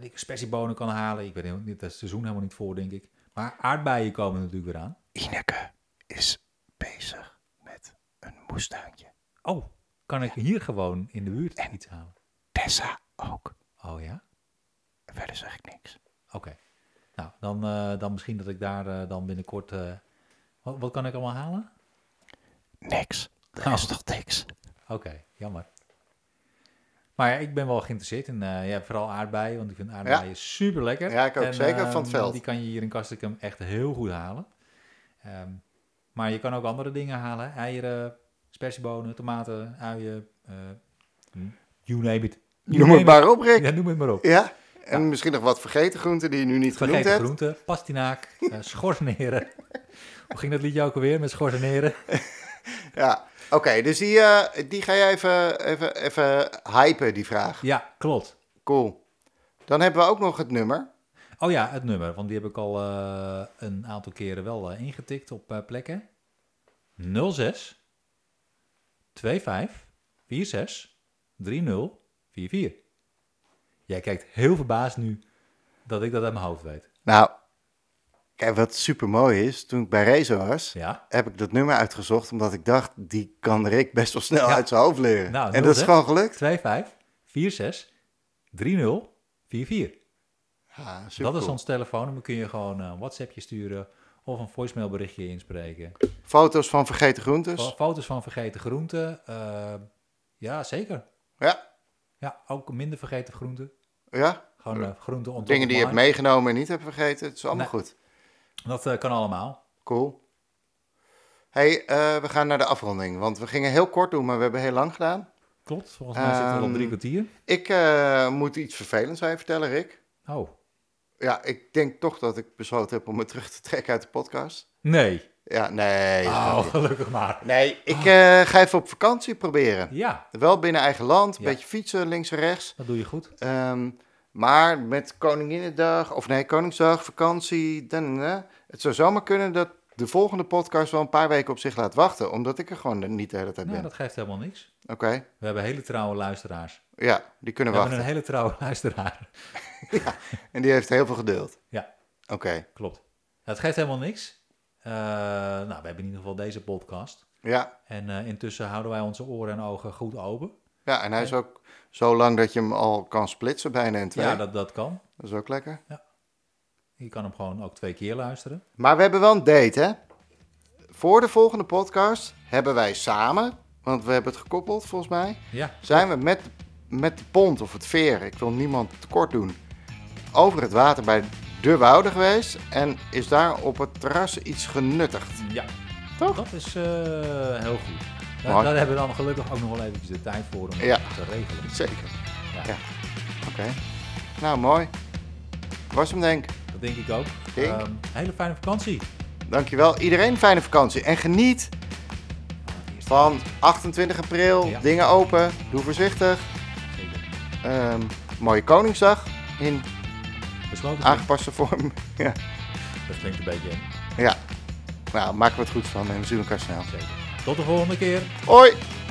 Speaker 1: die spersiebonen kan halen. Ik ben heel, dit is het seizoen helemaal niet voor, denk ik. Maar aardbeien komen natuurlijk weer aan.
Speaker 2: Ineke is bezig met een moestuintje.
Speaker 1: Oh, kan ik hier gewoon in de buurt iets halen?
Speaker 2: Tessa ook.
Speaker 1: Oh ja?
Speaker 2: Verder zeg ik niks.
Speaker 1: Oké. Nou, dan, eh, dan misschien dat ik daar eh, dan binnenkort... eh, wat, wat kan ik allemaal halen?
Speaker 2: Niks.
Speaker 1: Er is Oh.
Speaker 2: toch niks?
Speaker 1: Oké, jammer. Maar ja, ik ben wel geïnteresseerd in eh, ja, vooral aardbeien, want ik vind aardbeien super lekker.
Speaker 2: Ja, ik ook. Zeker van het veld.
Speaker 1: Die kan je hier in Kastrikum echt heel goed halen. Ehm, maar je kan ook andere dingen halen. hè. Eieren, spersiebonen, tomaten, uien. eh, hm, you name it. You
Speaker 2: Noem
Speaker 1: name
Speaker 2: het maar op, Rick.
Speaker 1: Ja, noem het maar op.
Speaker 2: Ja, en misschien nog wat vergeten groenten die je nu niet genoemd
Speaker 1: Vergeet de
Speaker 2: hebt.
Speaker 1: groenten, pastinaak, eh schorseneren. Hoe ging dat liedje ook alweer met schorseneren?
Speaker 2: Ja, oké, dus die, eh, die ga jij even, even, even hypen, die vraag.
Speaker 1: Ja, klopt.
Speaker 2: Cool. Dan hebben we ook nog het nummer.
Speaker 1: Oh ja, het nummer, want die heb ik al eh, een aantal keren wel eh, ingetikt op eh, plekken. 06 25 46 30 44. Jij kijkt heel verbaasd nu dat ik dat uit mijn hoofd weet.
Speaker 2: Nou, kijk, wat super mooi is, toen ik bij Rezo was,
Speaker 1: Ja,
Speaker 2: heb ik dat nummer uitgezocht, omdat ik dacht, die kan Rick best wel snel
Speaker 1: Ja.
Speaker 2: uit zijn hoofd leren.
Speaker 1: Nou,
Speaker 2: en
Speaker 1: nul,
Speaker 2: dat is
Speaker 1: hè?
Speaker 2: gewoon gelukt.
Speaker 1: 25 46 30 44.
Speaker 2: Ja, super
Speaker 1: dat is ons telefoonnummer. Kun je gewoon eh, een WhatsAppje sturen of een voicemailberichtje inspreken.
Speaker 2: Foto's van vergeten groentes.
Speaker 1: Fo- Foto's van vergeten groenten. eh, ja, zeker.
Speaker 2: Ja,
Speaker 1: Ja, ook minder vergeten groenten.
Speaker 2: ja.
Speaker 1: Gewoon eh, groenten ontdekken.
Speaker 2: Dingen die je hebt meegenomen en niet hebt vergeten. Het is allemaal
Speaker 1: Nee.
Speaker 2: goed.
Speaker 1: Dat eh, kan allemaal.
Speaker 2: Cool. hey, eh, we gaan naar de afronding, want we gingen heel kort doen, maar we hebben heel lang gedaan.
Speaker 1: Klopt, volgens mij zitten we al op drie
Speaker 2: Ehm,
Speaker 1: kwartier.
Speaker 2: Ik eh, moet iets vervelends aan je vertellen, Rick.
Speaker 1: Oh,
Speaker 2: Ja, ik denk toch dat ik besloten heb om me terug te trekken uit de podcast.
Speaker 1: nee.
Speaker 2: Ja, nee.
Speaker 1: Oh,
Speaker 2: grapje.
Speaker 1: gelukkig maar.
Speaker 2: Nee, ik eh, ga even op vakantie proberen.
Speaker 1: Ja,
Speaker 2: Wel binnen eigen land, een
Speaker 1: Ja.
Speaker 2: beetje fietsen links en rechts.
Speaker 1: dat doe je goed.
Speaker 2: Ehm, maar met Koninginnedag, of nee, Koningsdag, vakantie. Dan, eh, het zou zomaar kunnen dat de volgende podcast wel een paar weken op zich laat wachten. Omdat ik er gewoon niet de hele tijd
Speaker 1: Nou,
Speaker 2: ben.
Speaker 1: dat geeft helemaal niks.
Speaker 2: Oké,
Speaker 1: We hebben hele trouwe luisteraars.
Speaker 2: ja, die
Speaker 1: We
Speaker 2: kunnen
Speaker 1: hebben
Speaker 2: wachten.
Speaker 1: een hele trouwe luisteraar.
Speaker 2: En die heeft heel veel geduld.
Speaker 1: Ja.
Speaker 2: Oké,
Speaker 1: Klopt. Dat geeft helemaal niks. Eh, nou, we hebben in ieder geval deze podcast.
Speaker 2: ja.
Speaker 1: En eh, intussen houden wij onze oren en ogen goed open.
Speaker 2: ja. En hij is ook zo lang dat je hem al kan splitsen bijna in twee.
Speaker 1: Ja,
Speaker 2: dat...
Speaker 1: dat, dat kan.
Speaker 2: is ook lekker.
Speaker 1: Je kan hem gewoon ook twee keer luisteren.
Speaker 2: Maar we hebben wel een date, hè? Voor de volgende podcast hebben wij samen, want we hebben het gekoppeld volgens mij...
Speaker 1: Ja,
Speaker 2: zijn we met, met de pont of het veer, ik wil niemand tekort doen, over het water bij de Woude geweest en is daar op het terras iets genuttigd.
Speaker 1: ja.
Speaker 2: Toch?
Speaker 1: dat is eh, heel goed. Daar,
Speaker 2: Mooi.
Speaker 1: daar hebben we dan gelukkig ook nog wel eventjes de tijd voor om
Speaker 2: Ja.
Speaker 1: dat te regelen.
Speaker 2: Zeker.
Speaker 1: Ja,
Speaker 2: Ja. Oké. Nou, mooi. Was hem denk. ik.
Speaker 1: Dat denk ik ook.
Speaker 2: Denk.
Speaker 1: Ehm, hele fijne vakantie.
Speaker 2: Dankjewel. Iedereen fijne vakantie en geniet van 28 april.
Speaker 1: Ja.
Speaker 2: Dingen open. Doe voorzichtig.
Speaker 1: Zeker.
Speaker 2: Ehm, mooie Koningsdag in
Speaker 1: Besloten.
Speaker 2: aangepaste vorm. ja.
Speaker 1: Dat klinkt een beetje eng.
Speaker 2: ja. Nou, maken we het goed van en we zien elkaar snel.
Speaker 1: Zeker. Tot de volgende keer.
Speaker 2: Hoi!